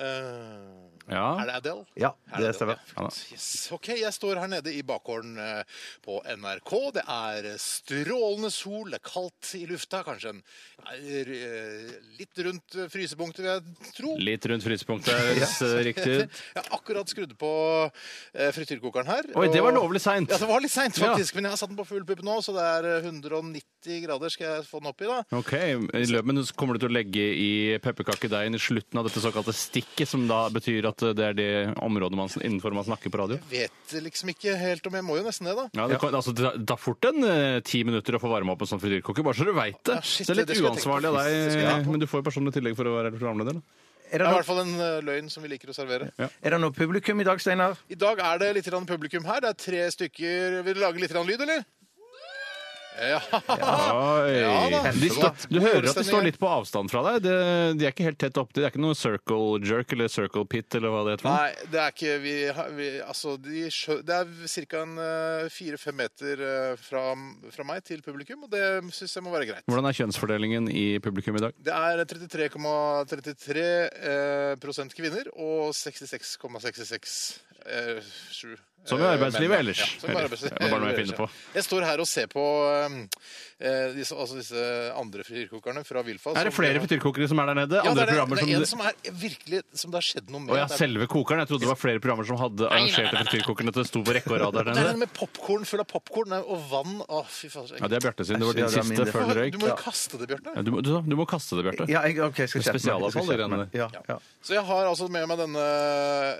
eh, Er Ja. det Adele? Ja, Er det Adele? stemmer. Ja, flott. yes. OK, jeg står her nede i bakgården eh, på NRK. Det er strålende sol, det er kaldt i lufta. Kanskje en er, eh, litt rundt eh, frysepunktet, vil jeg tro. Litt rundt *laughs* frysepunktet høres eh, riktig Jeg ut. har akkurat skrudd på eh, frityrkokeren her. Oi, det var og- lovlig seint. Ja, det var litt seint, Ja. faktisk. Men jeg har satt den på full pupp nå, så det er eh, 190 grader skal jeg få den opp i, da. Ok, i løpet, men så kommer du til å legge i pepperkakedeigen i slutten av dette såkalte stikket, som da betyr at eh, det er det området man, innenfor man snakker på radio? Vet liksom ikke helt om Jeg må jo nesten det, da. Ja, det, Kan, altså, det tar fort en eh, ti minutter å få varme opp en sånn frityrkoker, bare så du veit det. Ja, Ah, shit, det er litt det skal jeg tenke på. uansvarlig av Det skal jeg ha deg, eh, på. men du får jo personlig tillegg for å være programleder. Da. Er Det det, er i noe, hvert fall en eh, løgn som vi liker å servere. er det noe publikum i dag, Steinar? I dag er det litt grann publikum her. Det er tre stykker. Vil du lage litt grann lyd, eller? Ja. Oi. Ah, Ja da. de står, du hører at de står Folkestemning. litt på avstand fra deg. De, de er ikke helt tett opptil. Det er ikke noe circle jerk eller circle pit eller hva det heter. for noe. Nei, det er ikke vi, har- vi Altså, de, skjø- det er ca. fire-fem meter eh, fra, fra meg til publikum, og det syns jeg må være greit. Hvordan er kjønnsfordelingen i publikum i dag? Det er 33,33 eh, prosent kvinner og 66,66 eh, sju, Som eh, i Sånn arbeidslivet menn. ellers. Ja, som i Eller, arbeidslivet det var bare noe jeg ellers, finner på. ja. Jeg står her og ser på eh, eh, disse, altså disse andre frityrkokerne fra Vilfa. Er det som- flere frityrkokere som er der nede? Ja, det Andre er, det, programmer det som er du- en som er virkelig Som det har skjedd noe med. Å ja, Det er- selve kokeren. Jeg trodde det var flere programmer som hadde arrangert frityrkokeren at det sto på rekke og rad der Det er den nede. med popkorn full av popkorn og vann. Å, fy faen. så Ja, ekkelt. det er Bjarte sin. Det var Ja, din det er min, siste det. før den røyk. Du må jo kaste det, Bjørte. Ja, Du, må- du- du må kaste det, Bjarte. Ja, jeg, ok, jeg skal skjerpe meg. Jeg Spesialavfall, skal det skjerpe meg. greiene der. Ja, ja. Så jeg har altså med meg denne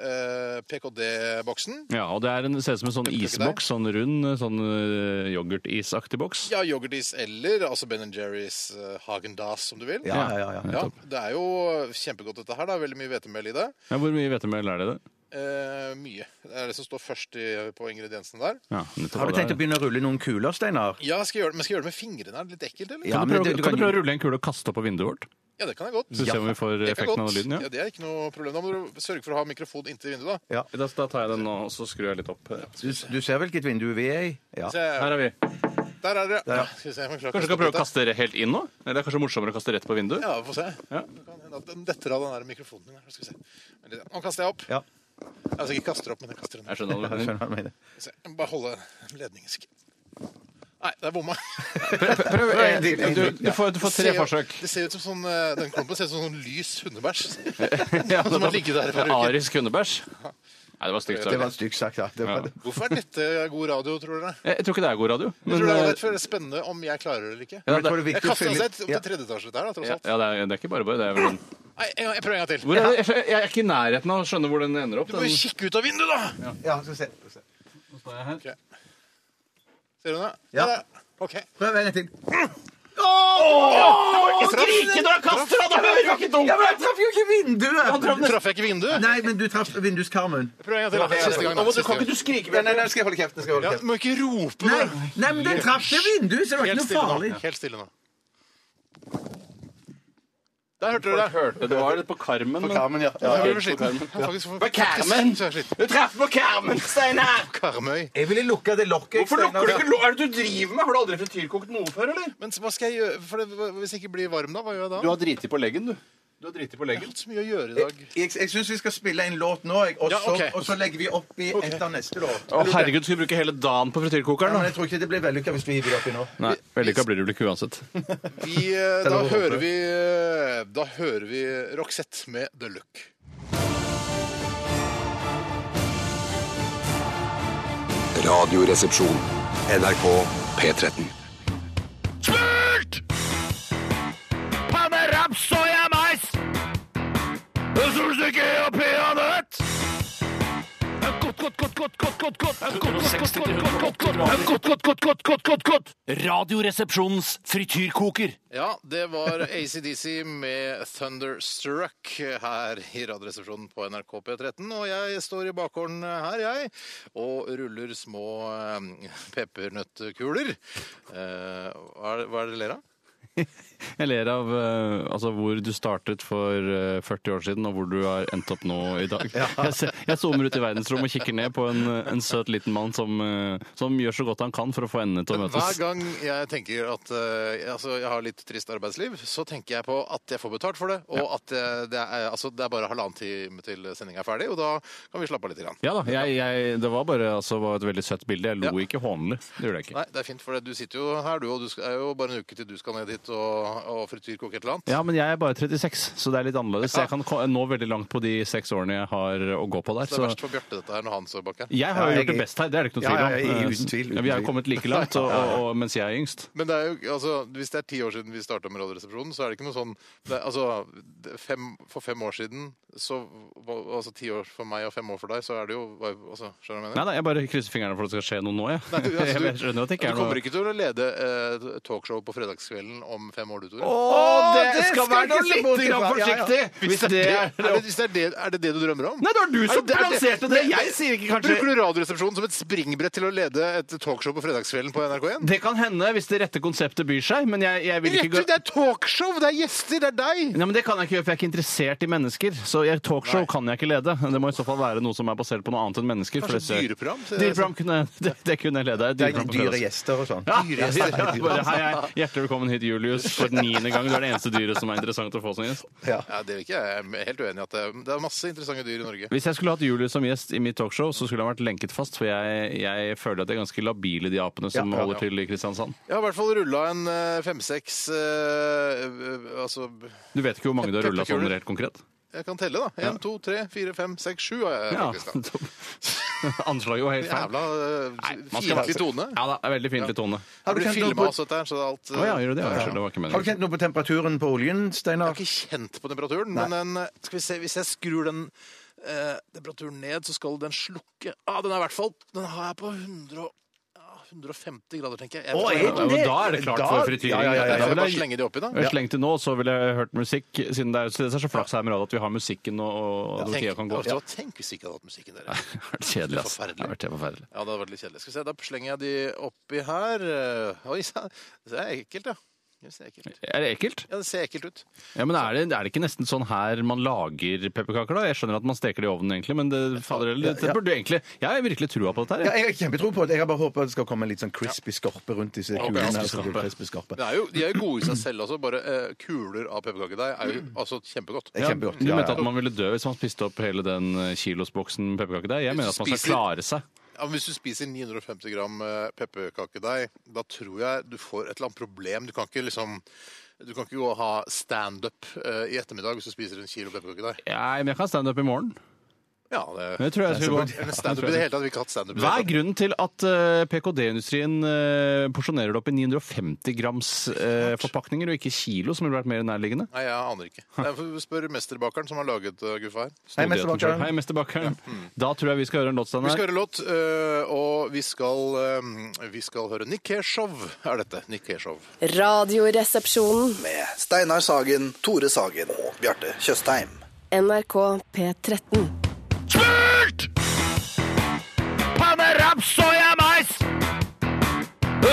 eh, PKD-boksen. Ja, og det er en, ser ut som en sånn Funker ikke isboks, sånn rund, sånn øh, yoghurtisaktig boks. Ja, yoghurtis eller altså Ben Jerrys uh, Hagen Dazs, som du vil. Ja, ja, ja, ja. Ja, Det er jo kjempegodt, dette her. da, Veldig mye hvetemel i det. Ja, hvor mye hvetemel er det i det? Eh, mye. Det er det som står først i, på ingrediensene der. Ja, nettopp. Har du Det er- tenkt å begynne å rulle noen kuler, Steinar? Ja, skal jeg gjøre det, Men skal jeg gjøre det med fingrene? Er det litt ekkelt, eller? Ja. kan, du men prøve, det- du kan du kan- prøve å rulle en kule og kaste opp av vinduet vårt? Ja, det kan jeg godt. Så ser vi om vi får Det kan jeg effekten av godt. lyden. Ja. ja, Det er ikke noe problem. Da må du sørge for å ha mikrofon inntil vinduet, da. Da, da tar jeg den nå, og så skrur jeg litt opp. Du, du ser vel hvilket vindu vi er i? Ja. Se, Her er vi. der er det. Ja, skal vi se, om jeg klarer Kanskje du å kan prøve å stoppe kaste det helt inn nå? Eller det er kanskje morsommere å kaste rett på vinduet? dette? Ja, vi får se. Ja. Det kan hende at Den detter av den der mikrofonen min. her. Skal vi se. Vent litt. Nå kaster jeg opp. Ja. Altså ikke kaster opp, men jeg kaster den. Jeg skjønner hva du Jeg mener. skjønner hva du mener. Skal vi se. Jeg må Bare holde ledningen sikker. Nei, det er *laughs* bomma. Prøv, en til, en eh, du, til. du, får, du får tre ser jo- forsøk. Det ser ut som sånn, eh, den klumpen ser ut som sånn lys hundebæsj. *laughs* Ja, Som har ligget der i flere uker. Arisk hundebæsj. Nei, det var stygt. Det sorry. var stygt sagt, da. Det var det. Hvorfor er dette god radio, tror dere? Jeg, jeg tror ikke det er god radio. Jeg Men, tror det er eh, rett før det er spennende om jeg klarer det eller ikke. Ja, Men jeg tror det er Jeg viktig å kaster den fylle sett opp til tredje etasje der, da, tross ja, alt. altså. ja, det, er, det er ikke bare bare. Det er vel en... Nei, jeg, jeg prøver en gang til. hvor er det? Jeg skjø- Jeg er ikke i nærheten av å skjønne hvor den ender opp. Du må jo Den... kikke ut av vinduet, da! Ja, skal vi se. skal vi se. Ser du det? Ja. Der, OK. Prøv en gang til. Skrike når han kaster han! Det var ikke dumt! Ja, men jeg traff jo ikke vinduet! Traff jeg ikke vinduet? Nei, men du traff vinduskarmen. Prøv en gang til. da. Siste gang, da. Siste gang. du skrike? Nei, nei, nei, skal jeg holde kjeften? Skal jeg holde Ja, kjeften? du må ikke rope Nei, nå. nei, men den traff jo vinduet, så det var ikke Helt noe stille nå. farlig. Helt stille nå. Der hørte dere det. Hørte, det var litt på karmen. men- Carmen, ja. Ja, ja. helt jeg ble på sliten. karmen. *laughs* Jeg er faktisk for- Men Carmen! *laughs* Så jeg er sliten. Du traff på Carmen, Steinar! Karmøy. Jeg ville lukka det lokket. Hvorfor lukker du Steinar. ikke lo- Er det du driver med? Har du aldri frityrkokt noe før, eller? Men hva skal jeg gjøre? For det, hvis jeg ikke blir varm, da? Hva gjør jeg da? Du har driti på leggen, du. Du har driti på Jeg har leggen. hatt så mye å gjøre i dag. Jeg, jeg syns vi skal spille en låt nå, jeg, og, Ja, så, ok. og så legger vi opp i etter neste låt. Å, herregud, skal vi bruke hele dagen på Ja, men frityrkokeren? da? jeg tror ikke det blir vellykka hvis vi hiver det oppi nå. Nei, vellykka blir det vel ikke uansett. Vi, eh, da, lov å hører håpe. vi, eh, da hører vi Roxette med The Look. Radioresepsjon. NRK P13. Panne, raps, soya, mais! Solstykke og peanøtt! Radioresepsjonens frityrkoker. Ja, det var ACDC med Thunderstruck her i Radioresepsjonen på NRK P13. Og jeg står i bakgården her, jeg, og ruller små eh, peppernøttkuler. Eh, Hva er det- hva er det dere ler av? Jeg ler av eh, altså, hvor du startet for eh, 40 år siden, og hvor du har endt opp nå i dag. *laughs* Jeg, ser, jeg zoomer ut i verdensrommet og kikker ned på en, eh, en søt liten mann som, eh, som gjør så godt han kan for å få endene til å Hver møtes. gang jeg tenker at eh, altså, jeg har litt trist arbeidsliv, så tenker jeg på at jeg får betalt for det, og at eh, det, er, altså, det er bare halvannen time til sendinga er ferdig, og da kan vi slappe av litt. Grann. Ja da, jeg, jeg, Det var bare altså, var et veldig søtt bilde. Jeg lo ikke hånlig. Det gjorde jeg ikke. Nei, det er fint, for du sitter jo her, du, og du skal- er jo bare en uke til du skal ned dit og, og frityrkoke et eller annet. Ja, men jeg er bare 36, så det er litt annerledes. Jeg kan ko- nå veldig langt på de seks årene jeg har å gå på der. Det er Så verst for Bjarte, dette her, når han står bak her. jeg har jo Ja, jeg- gjort det best her, det er det ikke noe Ja, tvil om. ja, ja, uten tvil, uten Ja, vi er tvil. jo kommet like langt, *laughs* og, og, og, mens jeg er yngst. Men det er jo, altså, hvis det er ti år siden vi starta med Radioresepsjonen, så er det ikke noe sånn det, er- altså, det, fem, For fem år siden, så var- altså ti år for meg og fem år for deg, så er det jo var jo- altså, Skjønner du hva jeg mener? Nei, nei, jeg bare krysser fingrene for at det skal skje noe nå, jeg. Nei, du, altså, du- *laughs* jeg skjønner at det ikke du er kommer noe ikke til å lede eh, talkshow på fredagskvelden om fem år, du, Tore? Å, det, skal være noe litt grann forsiktig! Hvis det er er, det, hvis det er, det, er det det du drømmer om? Nei, det var du som det- er det- plasserte det! Jeg sier ikke Bruker kanskje du Radioresepsjonen som et springbrett til å lede et talkshow på fredagskvelden på NRK1? Det kan hende hvis det rette konseptet byr seg, men jeg, jeg vil ikke Rett gå ut, det er talkshow! Det er gjester! Det er deg! Nei, men Det kan jeg ikke gjøre, for jeg er ikke interessert i mennesker. Så jeg, talkshow kan jeg ikke lede. Det må i så fall være noe som er basert på noe annet enn mennesker. for Kanskje det- dyreprogram? sånn. så- Dyreprogram kunne, *laughs* det, det kunne jeg Det lede. er Dyreprogram på dyre fredag. gjester og sånn. *laughs* Ja, ja, ja, bare, hei, hei. Hjertelig velkommen hit, Julius, for den niende gang. Du er det eneste dyret som er interessant å få som gjest. Ja, det vil ikke jeg. Jeg er helt uenig i at det er, det er masse interessante dyr i Norge. Hvis jeg skulle hatt Julius som gjest i mitt talkshow, så skulle han vært lenket fast, for jeg, jeg føler at jeg er ganske labil i de apene som Ja, ja, ja. holder til i Kristiansand. Jeg har i hvert fall rulla en eh, fem-seks eh, eh, Altså, Du vet ikke hvor mange du har rulla sånn helt konkret? jeg kan telle, da. Én, to, tre, fire, fem, seks, sju har jeg Ja. faktisk. da. *laughs* Anslaget var helt feil. Jævla Nei, uh, man skal være- fiendtlig tone. Ja da, det er veldig fiendtlig tone. Har Det du blir kjent noe filma på, også, dette her, så det er alt eh, Å ja, gjør du det? Ja, Unnskyld, det var ikke har du meningen. kjent noe på temperaturen på oljen, Jeg Steinar? har ikke kjent på temperaturen, men den, eh, skal vi se, hvis jeg skrur den eh, temperaturen ned, så skal den slukke ah, Den er i hvert fall Den har jeg på 100 og, ja, 150 grader, tenker jeg. jeg. vet ikke hva Ja, men da er det klart for frityring. Ja, ja, ja, det er. ja, Jeg Da får vil bare jeg- slenge de oppi, da. jeg slengte nå, så ville jeg hørt musikk. Siden det er, så det er så flaks her med radio at vi har musikken og, og når tida Tenk, kan gå. altså, tenk hvis vi ikke hadde hatt musikken der. Det har vært kjedelig, ass. Forferdelig. Det har vært helt forferdelig. Ja, det hadde vært litt kjedelig. Skal vi se, Da slenger jeg de oppi her. Eh, Oi sann, det er ekkelt, ja. Det ser ekkelt. Er det ekkelt? Ja, det ser ekkelt ut. Ja, men er det, er det ikke nesten sånn her man lager pepperkaker, da? Jeg skjønner at man steker det i ovnen, egentlig, men det, fader, det, det burde jo egentlig Jeg har virkelig trua på dette Ja, her. jeg. jeg har kjempetro på det. Jeg har bare håpet det skal komme en litt sånn crispy skorpe rundt disse kulene. her, så det blir crispy skorpe. Det er jo, de er jo gode i seg selv også. Bare eh, kuler av pepperkakedeig er jo altså kjempegodt. Det er kjempegodt. Du Ja, mente ja. at man ville dø hvis man spiste opp hele den eh, kilosboksen pepperkakedeig? Jeg mener at man skal Spiser- klare seg. Ja, men hvis du spiser 950 gram eh, pepperkakedeig, da tror jeg du får et eller annet problem. Du kan ikke liksom du kan ikke gå og ha standup eh, i ettermiddag hvis du spiser en kilo pepperkakedeig. Nei, men jeg kan standup i morgen. Ja, det Det tror jeg jeg skulle gå. Men standup i det hele tatt. Vi har ikke hatt standup i det Hva er hele tatt. grunnen til at eh, PKD-industrien eh, porsjonerer det opp i 950 grams eh, forpakninger, og ikke kilo, som ville vært mer nærliggende? Nei, jeg aner ikke. Jeg får spørre mesterbakeren som har laget uh, guffa her. Hei, mester Snodigheten selv. Bakeren. Hei, mester Bakeren. Da tror jeg vi skal høre en låt, Vi Steinar. skal høre låt, øh, og vi skal, øh, vi skal høre Nick Kershaw, er dette. Nick Kershaw. Radioresepsjonen. Med Steinar Sagen, Tore Sagen og Bjarte Tjøstheim. NRK P13. Panne, raps, soya, mais!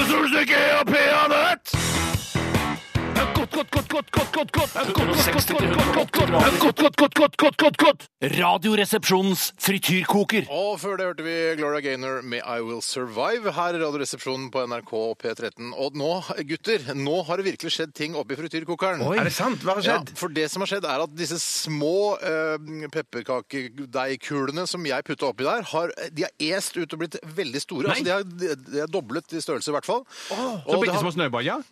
Solstykke og peanøtt! godt, godt, godt, godt, godt, godt, godt, godt, godt, godt, godt, godt, godt, godt, godt, godt. Radioresepsjonens frityrkoker. Og før det hørte vi Gloria Gaynor med I Will Survive her i Radioresepsjonen på NRK P13. Og nå, gutter, nå har det virkelig skjedd ting oppi frityrkokeren. Er det sant? Hva har skjedd? Ja, for det som har skjedd, er at disse små eh, pepperkakedeigkulene som jeg putta oppi der, har, de har est ut og blitt veldig store. Altså, de, har, de har doblet i størrelse, i hvert fall. Og Så det bitte har- små snøballer?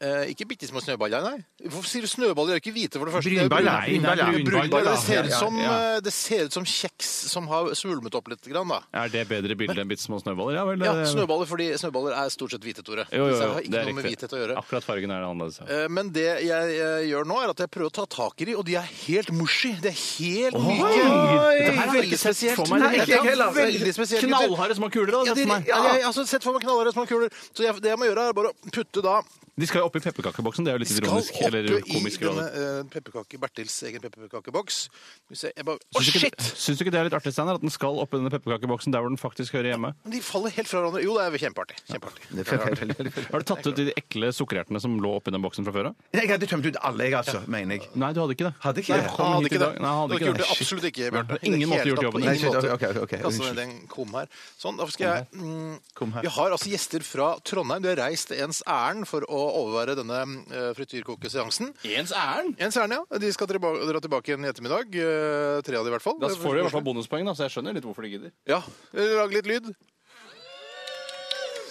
Eh, ikke bitte små snøballer, nei. Hvorfor sier du snøballer? De er jo ikke hvite, for det første. Brunball, Det er nei, brune- nei, brune- brunball, brunball, da. Det ser ut Ja, som, ja. eh, det ser ut som kjeks som har svulmet opp litt, grann, da. Er det bedre bilde enn bitte små snøballer? Ja vel. eh, Ja, det- snøballer, fordi snøballer er stort sett hvite, Tore. eh, Jo, jo, Disse jo, har det ikke er noe med riktig. hvithet å gjøre. Akkurat fargen er annerledes. ja. Eh, Men det jeg eh, gjør nå, er at jeg prøver å ta tak i de, og de er helt mushy. De er helt Dette myke. her har jeg Veldig ikke sett for spesielt. meg i det Nei, hele ikke jeg tatt. heller. Veldig spesielt, gutter. Knallharde små kuler. da, Ja, de, sett for meg. ja, jeg har altså sett for meg knallharde små kuler. Så jeg, det jeg må gjøre, er bare å putte da De skal jo oppi pepperkakeboksen. Det er jo litt skal ironisk. oppe Eller i komisk. denne ironisk. eh, pepperkake, Bertils egen pepperkakeboks. Skal vi se, jeg bare... Å, Syns du ikke- shit! Syns du ikke det er litt artig, Steinar? At den skal oppi denne pepperkakeboksen der hvor den faktisk hører hjemme? De faller helt fra hverandre. Jo, det er jo kjempeartig. kjempeartig. Har du tatt ut de ekle sukkerertene som lå oppi den boksen fra før av? Nei, *laughs* jeg hadde tømt ut alle, jeg, altså, mener jeg. Nei, du hadde ikke det. Hadde ikke det. Kom Han hadde hit i ikke det. dag. Nei, han hadde Du har ikke gjort det. det. Absolutt ikke, Nei, Bjarte. på ingen I det måte hele gjort tatt, jobben. på ingen Nei, shit, måte. ok, ok, ok. Kaste Unnskyld. ned en kom her. Sånn, da skal jeg... Mm, vi har altså gjester fra Trondheim. Du har reist ens ærend for å overvære denne eh, frityrkokeseansen. Ens ærend? Ens ærend, ja. De skal tilba dra tilbake igjen i ettermiddag. eh, tre av de i hvert fall. Da får du i hvert fall bonuspoeng, da, så jeg skjønner litt hvorfor de gidder. Ja. Eh, Lag litt lyd.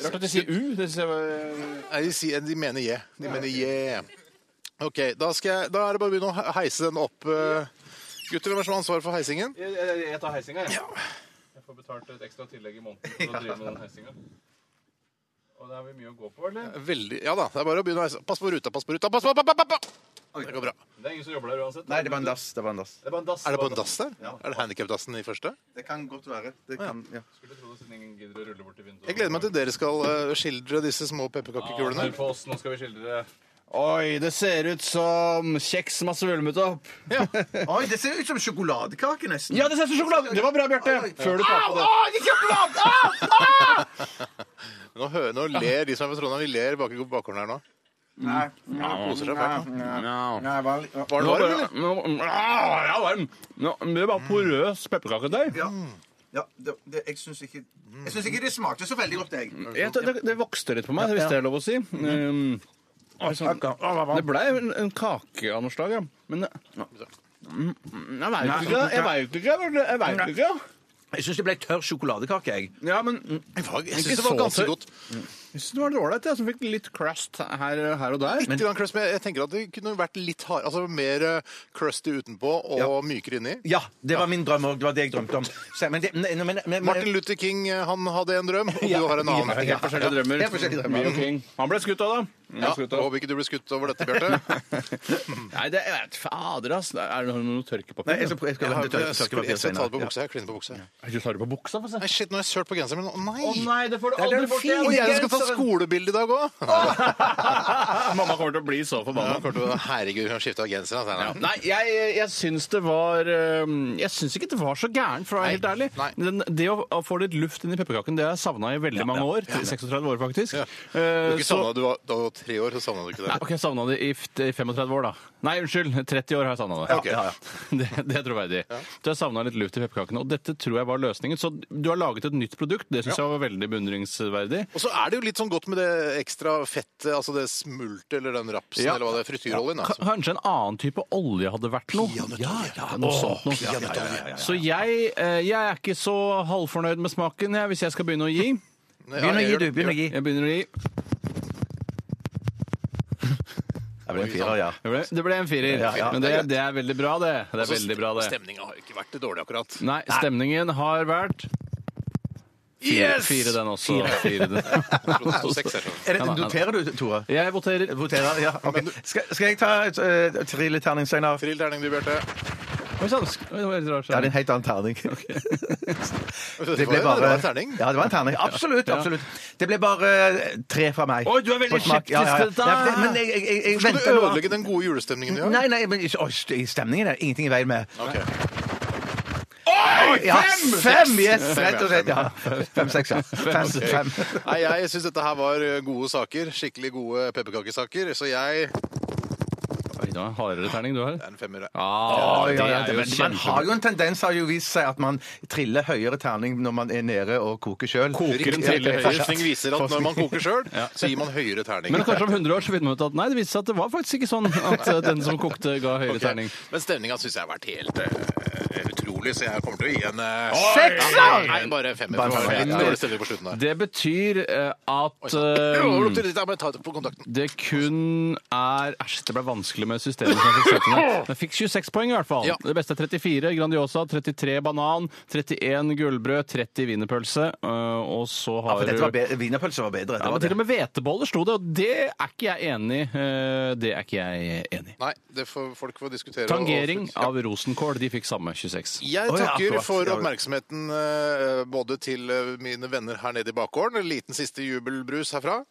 Rart at de sier U. Det synes jeg var... Nei, de, sier, de mener je. De mener je. OK, da, skal jeg, da er det bare å begynne å he- heise den opp. eh. Gutter, hvem er som har ansvaret for heisingen? Jeg, jeg, jeg tar heisinga, jeg. Jeg får betalt et ekstra tillegg i måneden for å drive med *laughs* den heisinga. Og det er vel mye å gå på, eller? Veldig, ja da, det er bare å begynne å heise. Pass på ruta, pass på ruta! Pass på, pass på, pass på, pass på. Det går bra. Det er ingen som jobber der uansett. Nei, det var en dass. Det var en dass. Det er bare en dass. Er det på en dass der? Er det handikapdassen i første? Det kan godt være. Det kan, ja. Skulle tro det siden ingen gidder å rulle bort i vinduet. Jeg gleder meg til dere skal eh, skildre disse små pepperkakekulene. Hør på oss, nå skal vi skildre Oi, det ser ut som kjeks som har svulmet opp. *laughs* Oi, det ser ut som sjokoladekake, nesten. Ja, det ser ut som sjokolade! Det var bra, Bjarte. Før du tar på det. Nå, hø- nå ler de som er fra Trondheim, vi ler bak i bakgården her nå. Nei. Koser seg fælt. nå. Mm. Var den Nå varm, bare- eller? nå- Ah, jeg er varm. Nå, det var porøs pepperkakedeig. Ja, det, det, jeg syns ikke, jeg synes ikke det smakte så veldig godt, jeg. Jeg- Det, det vokste litt på meg, hvis det er lov å si. Mhm. Um, sånn- det blei en, en kake av noe slag, ja. Men det- Mm, jeg veit ikke. Jeg veit ikke. Jeg vet ikke. Jeg syns det ble tørr sjokoladekake, jeg. Ja, men mm, Jeg var- Jeg Ikke syns det var så ganske tørr. godt. jeg syns det var litt ålreit, jeg, som fikk litt crust her, her og der. Litt grann crust, men jeg tenker at det kunne vært litt hard, altså mer eh, crusty utenpå og mykere inni. Ja, det var min drøm òg. Det var det jeg drømte om. Så, men det, men, men, men, men, Martin Luther King eh, han hadde en drøm, og du har en annen. Helt forskjellige drømmer. Helt forskjellige drømmer. Mio King. Han ble skutt av, da. Han ble Ja, skutt av. håper ikke du blir skutt over dette, Bjarte. Nei, det jeg vet Fader, ass. Er det noe Nei, tørkepapir? jeg skal, jeg skal, Jeg har- jeg skal, jeg skal jeg skal ta det på buksa. Jeg kliner på buksa. Jeg tar det på buksa, få se. Nei, shit, nå har jeg sølt på genseren min. Å Å nei! nei, det får du er aldri den bort Og igjen! jeg som skal ta skolebilde i dag òg! *laughs* Mamma kommer til å bli så forbanna. Herregud, hun har skifta genser. Altså. Ja. Nei, jeg, jeg syns det var øhm, Jeg syns ikke det var så gærent, for å være helt ærlig. Nei. Den, det å å få litt luft inn i pepperkaken, det har jeg savna i veldig mange år. 36 år, faktisk. Ja. Du Eh, har ikke så- savnet- du var, da du var tre år, så savna du ikke Nei, det. ok, Jeg savna det i f- i 35 år, da. Nei, unnskyld. 30 år har jeg savna det. ok. Ja, ja. *laughs* Det, det er troverdig. Så jeg savna litt luft i pepperkakene, og dette tror jeg var løsningen. Så du har laget et nytt produkt. Det syns jeg var veldig beundringsverdig. Og så er det jo litt sånn godt med det ekstra fettet, altså det smultet eller den rapsen Ja. eller hva det er, frityroljen. Ka- Altså. Kanskje en annen type olje hadde vært noe. Ja, ja, noe sånt noe. Så jeg, eh, jeg er ikke så halvfornøyd med smaken jeg, hvis jeg skal begynne å gi. Begynn å gi, du. Begynn å gi. Jeg begynner å gi. Det ble en firer, ja. Det ble, det ble en firer. Men det, det er veldig bra, det. Det er veldig bra, det. Stemninga har jo ikke vært dårlig, akkurat. Nei, stemningen har vært Fire, fire den også. Fire den. Jeg trodde det sto *laughs* seks her, sånn. Er det, noterer du, Tore? Jeg voterer. Voterer, ja. ok. Skal, skal jeg ta et uh, trilleterning, Steinar? Trill terning, du, Bjarte. Oi sann! sk- Oi, det var helt rart. Ja, det er en helt annen terning. Det var- det var en terning. Ja, det var en terning. Absolutt. absolutt. Det ble bare eh, tre fra meg. Oi, du er veldig På smak. skeptisk til dette. Ja, for det- men jeg, jeg, jeg, jeg Skal du venter nå. ødelegge den gode julestemningen vi har? Nei, nei, men ikke- oi, st- stemningen er ingenting i veien med. Ok. Oi, ja, fem! Fem, yes, rett og slett. Ja. Fem, seks, ja. Fem, fem. Nei, jeg syns dette her var gode saker. Skikkelig gode pepperkakesaker. Så jeg Oi, Det var en hardere terning du har. Det er en femmer, det. Ah, Ja, ja, det er jo men man har jo en tendens, har jo vist seg, at man triller høyere terning når man er nede og koker sjøl. Koker en triller høyere. Forskning viser at når man koker sjøl, så gir man høyere terning. Men kanskje om 100 år så finner man ut at nei, det viste seg at det var faktisk ikke sånn at eh, den som kokte, ga høyere Ok, terning. Men stemninga syns jeg har vært helt eh, utrolig, så jeg kommer til å gi en eh, Seks, Nei, da! Nei, bare femmer. Bare Det var femmer. Litt dårlig stemning på slutten der. Det betyr eh, at eh, Jo, opp til ditt, ja, men ta på kontakten. det kun er Æsj, det ble vanskelig med systemet. som jeg fikk sette ned. Men Jeg fikk 26 poeng, i hvert fall. Ja. Det beste er 34 Grandiosa, 33 banan, 31 gullbrød, 30 wienerpølse, eh, og så Ja, har for dette du- var bedre. Wienerpølse var bedre. ja, det var men Til og det. med hveteboller sto det, og det er ikke jeg enig i. Eh, Det er ikke jeg enig i. Nei, det får folk få diskutere. og- Tangering Ja. av rosenkål, de fikk samme 26. Jeg Å, ja, takker akkurat. for Ja, vel. oppmerksomheten eh, både til eh, mine venner her nede i bakgården, en liten siste jubelbrus herfra.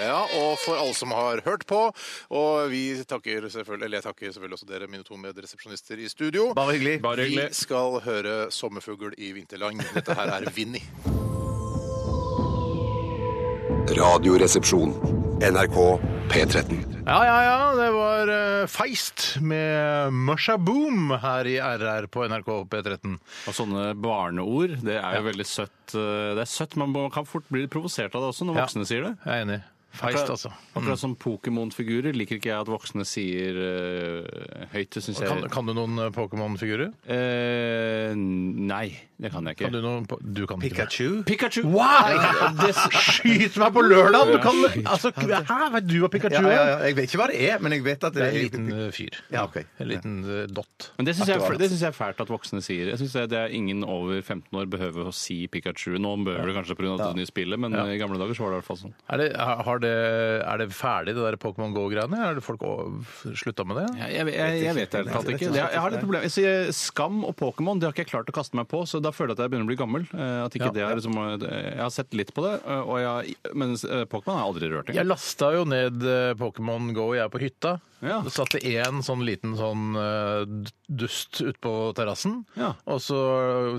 Ja, og for alle som har hørt på. Og vi takker selvfølgelig, eller jeg takker selvfølgelig også dere, mine to medresepsjonister i studio. Bare hyggelig. Bare Vi hyggelig. skal høre 'Sommerfugl i vinterland'. Dette her er Vinni. Radioresepsjon. NRK P13. Ja, ja, ja. Det var eh, Feist med Musha Boom her i RR på NRK P13. Og sånne barneord, det er jo veldig søtt. eh, Det er søtt, men man kan fort bli litt provosert av det også når Ja. voksne sier det. Jeg er enig. Feist, Akkurat, altså. akkurat som Pokémon-figurer liker ikke jeg at voksne sier eh, høyt. Det syns jeg Kan, kan du noen eh, Pokémon-figurer? Eh, Nei, det kan jeg ikke. Kan *laughs* du noen po- Du kan ikke. Pikachu. Pikachu! Wow! Skyt meg på lørdag! Du kan, altså, hæ, vet du hva Pikachu Ja, er? ja, ja. Jeg vet ikke hva det er, men jeg vet at Det det er en er liten eh, fyr. Ja, ok. En liten eh, dott. Men det syns jeg, er fæ- det synes jeg er fælt at voksne sier. Jeg synes det, det er Ingen over 15 år behøver å si Pikachu. Nå behøver det kanskje pga. det nye spillet, men i gamle dager så var det i hvert fall sånn. Er det, har det, er det ferdig, det der Pokémon GO-greiene? Har folk slutta med det? Jeg, jeg, jeg, jeg vet helt tatt ikke. Det, jeg har litt problem. Jeg sier Skam og Pokémon det har ikke jeg klart å kaste meg på, så da føler jeg at jeg begynner å bli gammel. Eh, At ikke det er liksom, eh, jeg har sett litt på det, eh, og jeg, men eh, Pokémon har jeg aldri rørt. Jeg Jeg. lasta jo ned eh, Pokémon Go jeg på hytta. Ja. Så satt det én sånn liten sånn eh, d- dust ute på terrassen, Ja. og så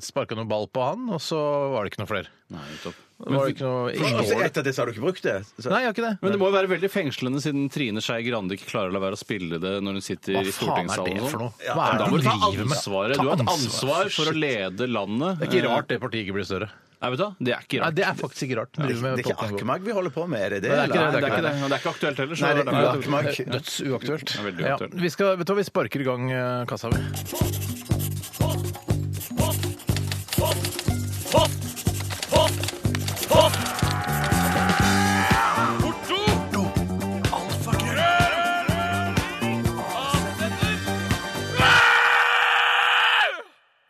sparka noen ball på han, og så var det ikke noe flere. Nei, nettopp. Det var ikke noe Og så Nei, Etter det så har du ikke brukt det. Så. jeg har ikke det. Men det må jo være veldig fengslende siden Trine Skei Grande ikke klarer å la være å spille det når hun sitter Hva faen i er stortingssalen. det og for sånn. noe? Hva Men er Da det må du du ta driver med? ansvaret. Ta Du har et ansvar, ansvar for å shit. lede landet. Eh, Det er ikke rart det partiet ikke blir større. Nei, vet du, hva? det er ikke Nei, rart. det er faktisk ikke rart. Det er ikke Arkemag vi holder på med, er det det? Nei, det er ikke Nei, eller? det er ikke det. Og det er ikke aktuelt heller. Så Nei, det er det er derfor- Arkemag. Dødsuaktuelt. Det er veldig Ja, aktuelt. vi, skal, vet du hva, vi sparker i gang eh, kassa, vi.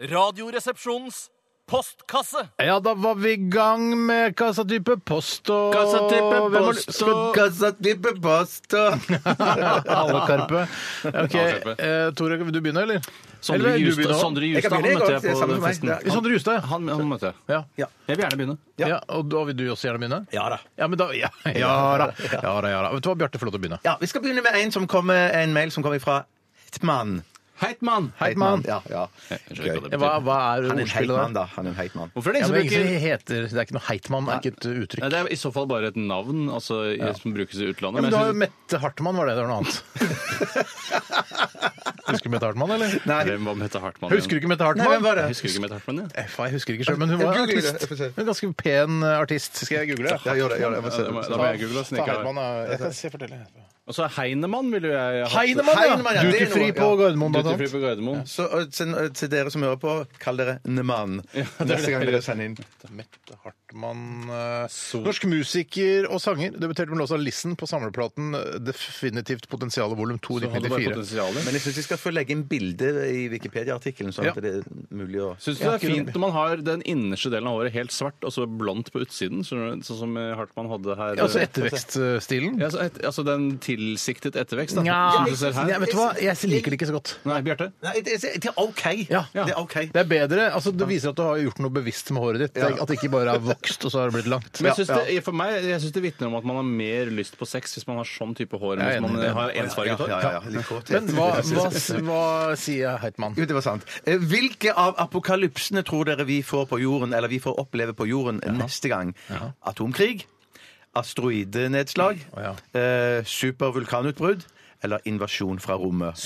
Radioresepsjonens postkasse. Ja, da var vi i gang med kassatype post og Kassatype Hvem har post lyst- og- Gazzatippe pasta. Alle Karpe. *laughs* Ok, Alle Karpe. eh, Tore, vil du begynne, eller? Eller Sondre vil du Justad begynne? Sondre Jeg kan Justad, han begynne, jeg møtte går. Det er jeg samme på for meg. festen. Det er- Sondre Justad, ja. Han, han møtte jeg. ja. Ja. Jeg vil gjerne begynne. Ja. og da vil du også gjerne begynne? Ja da. Ja, men da, *laughs* ja, ja da. Ja da, ja da. Vet du hva, Bjarte får lov til å begynne. Ja, Vi skal begynne med en, som kommer, en mail som kommer fra Heitmann. Heitmann! Heitmann. Ja, ja. Jeg skjønner ikke hva det Gøy. Hva, hva er Han er en ordspillet heitmann, da? da. Han er en heitmann. Hvorfor er Altså, det Ja, ingen som men ingen bruker som heter, det er ikke noe heitmann, det er ikke et uttrykk. Nei, Det er i så fall bare et navn altså, i- som brukes i utlandet. Ja, men men du har jeg jo Mette Hartmann, var det? Det var noe annet. *laughs* Husker du Mette Hartmann, eller? synes- Hvem var Mette Hartmann? igjen? Husker du ikke Mette Hartmann? Nei, hvem var det? Jeg husker ikke Mette Hartmann, jeg. Eh, faen, Jeg husker ikke selv, men hun var Jeg googler det, artist. jeg får se. Hun var ganske pen eh, artist. Skal jeg google det? eh, Ja, gjør det. Gjør det. Jeg må altså, se. Altså, Da må da må jeg google. siden jeg ikke har- Og så Altså, Heinemann ville jo jeg hatt. Heinemann, ja! Heinemann, ja, det er Dutifri noe, på ja. Gardermoen, blant Duty-fri annet. på Gardermoen. Så ø, til, ø, til dere som hører på, kall dere Nemann neste gang dere sender inn. Mette Hartmann eh, Norsk musiker og sanger. Debuterte med låsa 'Listen' på samleplaten eh, Definitivt potensial volum 2 i Du hadde bare 1994. potensial. Men jeg syns vi skal få legge inn bilde i Wikipedia-artikkelen, sånn Ja. at det er mulig å Syns du det er fint når man har den innerste delen av håret helt svart og så blondt på utsiden, sånn sånn som eh, Hartmann hadde her? eh, Altså ettervekststilen. Ja, så et, altså den tilsiktet ettervekst? Da. Nja, Som du ser ja, her. vet du hva? Jeg liker det ikke så godt. Nei, Bjarte? Nei, det, det det er OK. Ja. Det er OK. Det er bedre. altså Det viser at du har gjort noe bevisst med håret ditt. At det ikke bare er vokst, og så har det blitt langt. Men jeg synes det, for meg, jeg syns det vitner om at man har mer lyst på sex hvis man har sånn type hår enn Jeg er hvis man enig. har ensfarget hår. Ja, ja, ja, litt kåthet. Men *laughs* hva, hva, hva sier Heitmann? Jo, det var sant. Eh, Hvilke av apokalypsene tror dere vi får på jorden, eller vi får oppleve på jorden neste gang? Atomkrig? Asteroidenedslag? Å, eh, Supervulkanutbrudd? eller invasjon fra rommet.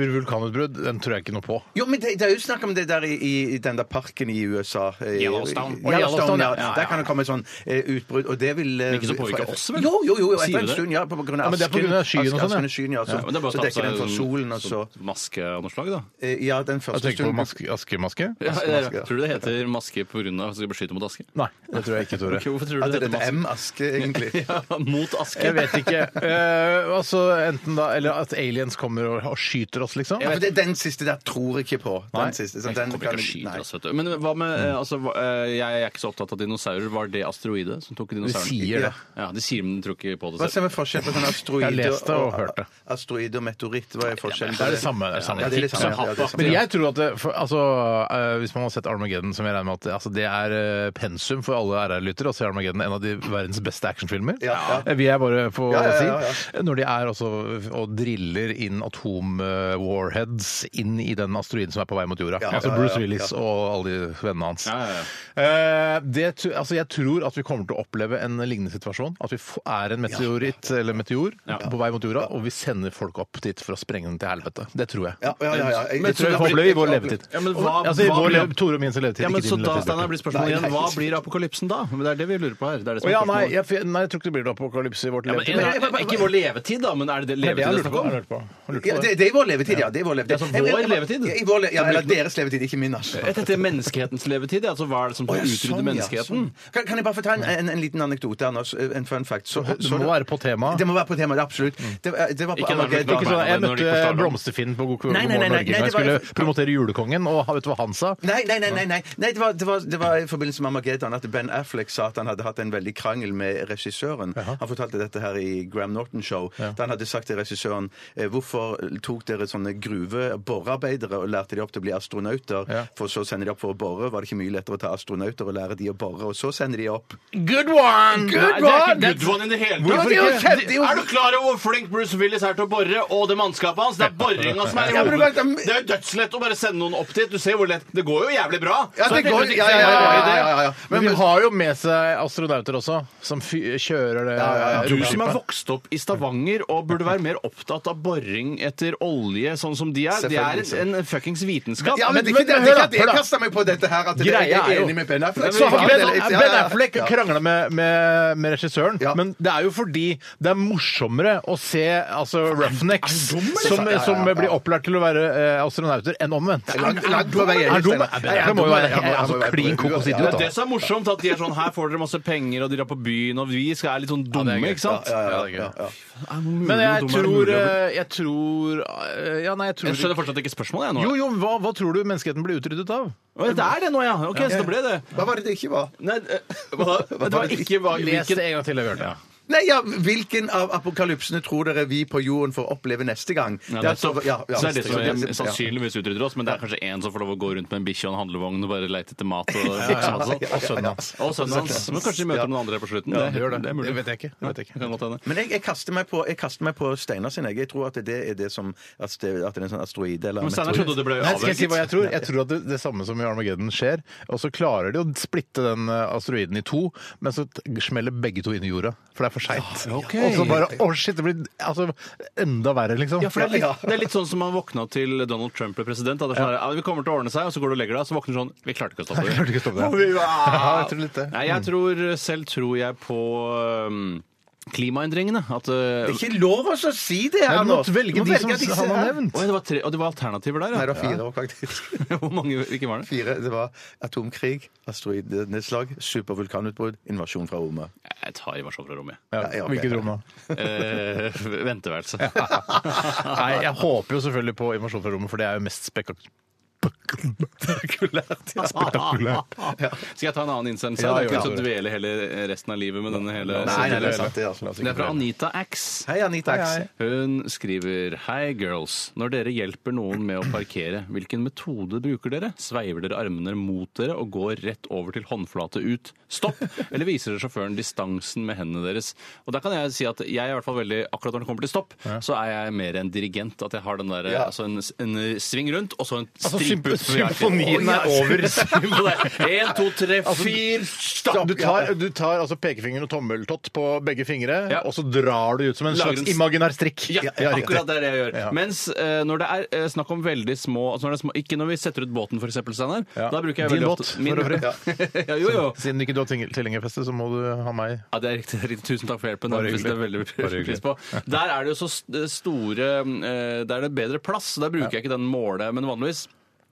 Supervulkanutbrudd, den tror jeg ikke noe på. Jo, men det, det er jo snakk om det der i, i, i den der parken i USA. eh, Yellowstone. i- i Yellowstone Ja, ja. ja, ja. Der kan det komme sånn eh, utbrudd, og det vil eh, Men ikke så påvirker oss, vel? Jo, jo, jo, Sier etter du en det? stund, ja. På grunn av Ja, men det er på grunn av skyen og asken, sånn, ja. asken og skyen, ja. Så, Ja, men det er bare å så ta på dekker den seg for solen, og så sånn Maske av noe slag, da. Eh, Ja, den Jeg første tenker på stunden maske, askemaske? Ja, Askemaske, ja. Tror du det heter maske pga. at du skal beskytte mot aske? Nei, det tror jeg ikke, *laughs* Tore. Hvorfor tror Ja, du det det dette er heter maske? M-aske, *laughs* egentlig. Ja, *laughs* mot aske? Jeg vet ikke. Eh, altså, enten da, Eller at aliens kommer og, og skyter oss, liksom. Ja, for det, den siste der tror jeg ikke på. Nei. Den siste, så Jeg den kommer ikke kan- og skyter nei. oss, vet du. Men hva med eh, altså, hva- eh, Jeg er ikke så opptatt av dinosaurer. Var det asteroide som tok De dinosauren? sier det. Ja, de sier men de tror ikke på Hva det er det selv. med forskjellen på sånn asteroide Jeg har lest det og og- hørt det. Asteroide og meteoritt, hva er forskjellen Det er det samme. Det er det samme. Ja, det er det samme. liksom. Ja, det er det samme. Men jeg tror at det, for, altså, eh, Hvis man har sett Armageddon, som jeg regner med at det- altså, det er eh, pensum for alle RR-lyttere, å se Armageddon, en av de verdens beste actionfilmer. Ja, ja. Eh, Vil jeg bare få Ja, ja, ja, ja. si. Når de er også og driller inn atom-warheads inn i den asteroiden som er på vei mot jorda. Ja, ja, altså ja, Bruce ja, Willis ja. og alle de vennene hans. Ja, ja, ja. Eh, det, tr- altså, jeg tror at vi kommer til å oppleve en lignende situasjon. At vi f er en meteoritt eller meteor på vei mot jorda, og vi sender folk opp dit for å sprenge den til helvete. Det tror jeg. Ja, ja, ja, ja. Jeg- Det tror jeg da- vi opplever i vår levetid. Ja, men hva- altså, i hva vår blir- lev- Tore og min sin levetid. Ja, men ikke så din da levetid, Steinar, blir spørsmålet Nei, igjen nei, hva ikke- blir apokalypsen da? Men det er det vi lurer på her. Det er Å, det som er ja, nei, spørsmålet. jeg, f- nei, jeg tror ikke det blir noe apokalypse i vårt Ja, men, levetid. en- en- ikke i vår levetid, da, men er det Det er det det jeg levetid det er lurte snakk på. om? Jeg lurte på. Jeg lurte Ja, på det. det, det er i vår levetid, ja. Det er i vår levetid. Ja, så vår Jeg- jeg- levetid? Ja, i vår le- ja, eller deres levetid, ikke min. altså. Jeg tenkte menneskehetens levetid. ja, Altså, hva er det som Å, ja, skal utrydde sånn, ja, menneskeheten? sånn. Kan, kan jeg bare få ta en, en, en liten anekdote, Anders? En fun fact. Så- Det så- må være på tema. Det må være på temaet, det er absolutt. Det, eh, det var på Ikke Armageddon. Nei, Ikke sånn, jeg nei, når de møtte ikke starter. Blomsterfinn på God God Nei, nei, nei, morgen Norge. når nei, Jeg det var- skulle promotere Julekongen, og vet du hva han sa? Nei, nei, nei, nei, nei. nei det, var, det, var, det var i forbindelse med Armageddon at Ben Affleck sa at han hadde hatt en veldig krangel med regissøren. Han fortalte dette her i Graham Norton Show. Da han hadde sagt til regissøren eh, hvorfor tok dere sånne gruveborerarbeidere og lærte de opp til å bli astronauter, Ja. for så sender de opp for å bore. Var det ikke mye lettere å ta astronauter og lære de å bore, og så sender de opp? Good one! Nei, det er ikke good one in det hele Hvorfor Det er jo ikke? kjempe- det er jo- Er du klar over hvor flink Bruce Willis er til å bore, og det mannskapet hans? Det er boringa som er i Ja, men du vet, hodet. det- Det er jo dødslett å bare sende noen opp dit. Du ser hvor lett Det går jo jævlig bra. Så det jeg går- tenker ja, ja, ikke så ja, mye ja, i det. ja, ja, ja. Men vi har jo med seg astronauter også, som fy kjører det ja, ja. Du som er vokst opp i Stavanger og burde være mer opptatt av boring etter olje, sånn som de er. Det er Selvfølgelig. en, en fuckings vitenskap. Ja, men- men, det er men ikke det- det hør er ikke da, at jeg hør da. kaster meg på dette her, at det Greia jeg er er jo enig med Ben Affleck. Så har ben, Ja, ja, ja. ben Affleck krangla med, med, med regissøren, Ja. men det er jo fordi det er morsommere å se altså, Roughnecks er han dum, eller? som, Ja, ja, ja, som ja. blir opplært til å være eh, astronauter, enn omvendt. Langt- langt på vei enig, Er han dum? Steinar. Ben Affleck må jo være Ja, han må jo altså, være på klin huet. kokos Det idiot. er da. det som er morsomt, at de er sånn her får dere masse penger, og de drar på byen, og vi skal er litt sånn det dumme, er gøy. ikke sant? Ja, ja, det er gøy. Men jeg Hvor dum er det mulig å tror bli? eh, Jeg tror eh, Ja, nei, jeg Jeg tror skjønner fortsatt ikke spørsmålet, jeg nå. Jo, jo, hva, hva tror du menneskeheten blir utryddet av? Å, Det er det nå, ja. Ok, så det ble det. Hva var det det ikke var? Nei, eh, hva da? Det var ikke hva Les hvilken det en gang til, Bjørn. Ja. Nei, ja, Hvilken av apokalypsene tror dere vi på jorden får oppleve neste gang? Ja, Det er nettopp. så- ja, ja. Så det er det som Ja. er sannsynligvis utrydder oss, men det er kanskje én som får lov å gå rundt med en bikkje og en handlevogn og bare leite *laughs* etter mat og Og sånn. sønnen hans. Og sønnen hans. Men kanskje de møter noen andre her på slutten. Ja, gjør det. er mulig. Det vet jeg ikke. Det vet jeg ikke. kan godt hende. Men jeg, jeg kaster meg på, jeg kaster meg på Steinar sin. Jeg Jeg tror at det er det som at det, at det er en sånn asteroide eller Men Steinar meteoritt. trodde det ble Nei, skal jeg si hva avverget. jeg tror? Jeg tror at det, det samme som i Armageddon skjer, og så klarer de å splitte den eh, asteroiden i to, men så t- smeller begge to inn i jorda, for det er for seint. Og så bare Å, shit! Det blir altså, enda verre, liksom. Ja, for det er, litt, det er litt sånn som man våkna til Donald Trump ble president. At det er sånn, her, ja, vi kommer til å ordne seg, og så går du og legger deg, og så våkner du sånn Vi klarte ikke å stoppe Jeg klarte ikke å stoppe det. *laughs* Ja, jeg tror litt det. Mm. Nei, jeg tror, selv tror jeg på øhm, klimaendringene. At Det øh, er ikke lov å så si det Nei, du her nå! må velge de som disse han har her. nevnt. Oi, det var tre, og det var alternativer der, Nei, det ja. var fire år, faktisk. *laughs* Hvor mange ikke var det? Fire, Det var atomkrig, asteroideneslag, supervulkanutbrudd, invasjon fra *laughs* rommet. Jeg tar i Warszawa fra rommet. Ja, ja, ok. Hvilket rom da? Eh, venteværelse. *laughs* Nei, *laughs* jeg håper jo selvfølgelig på invasjon fra rommet, for det er jo mest spekak- spektakulært. Ja, spektakulært. Skal jeg ta en annen innsendelse? Ja, det er gjør ikke det. lyst til å dvele hele resten av livet med denne hele Nei, nei, det er sant. det Det er, altså- er fra Anita Axe. Hei, Anita X. Hei, hei. Hun skriver Hei, girls. Når dere hjelper noen med å parkere, hvilken metode bruker dere? Sveiver dere armene mot dere og går rett over til håndflate ut? Stopp! *laughs* Eller viser dere sjåføren distansen med hendene deres? Og der kan jeg si at jeg er i hvert fall veldig Akkurat når det kommer til stopp, så er jeg mer en dirigent. At jeg har den der, altså en, en sving rundt, og så en Altså, stripe symp- ut. Symfonien er *laughs* over. Altså, Én, to, tre, fire Stopp. Du tar, du tar altså pekefingeren og tommeltott på begge fingre, Ja. og så drar du ut som en Lager slags en- imaginær strikk. Ja, riktig. akkurat det er det jeg gjør. Ja. Mens eh, når det er eh, snakk om veldig små, altså når det er små Ikke når vi setter ut båten, f.eks., Steinar. Ja. Da bruker jeg Din veldig båt, ofte min- for øvrig. *laughs* ja, jo, jo. Siden ikke du har tving- tilhengerfeste, så må du ha meg. Ja, det er riktig. riktig. Tusen takk for hjelpen. Bare Det setter jeg veldig hyggelig. Bare pris på. Der er det jo så st- store eh, Der er det bedre plass, så der bruker jeg ikke den måle, men vanligvis.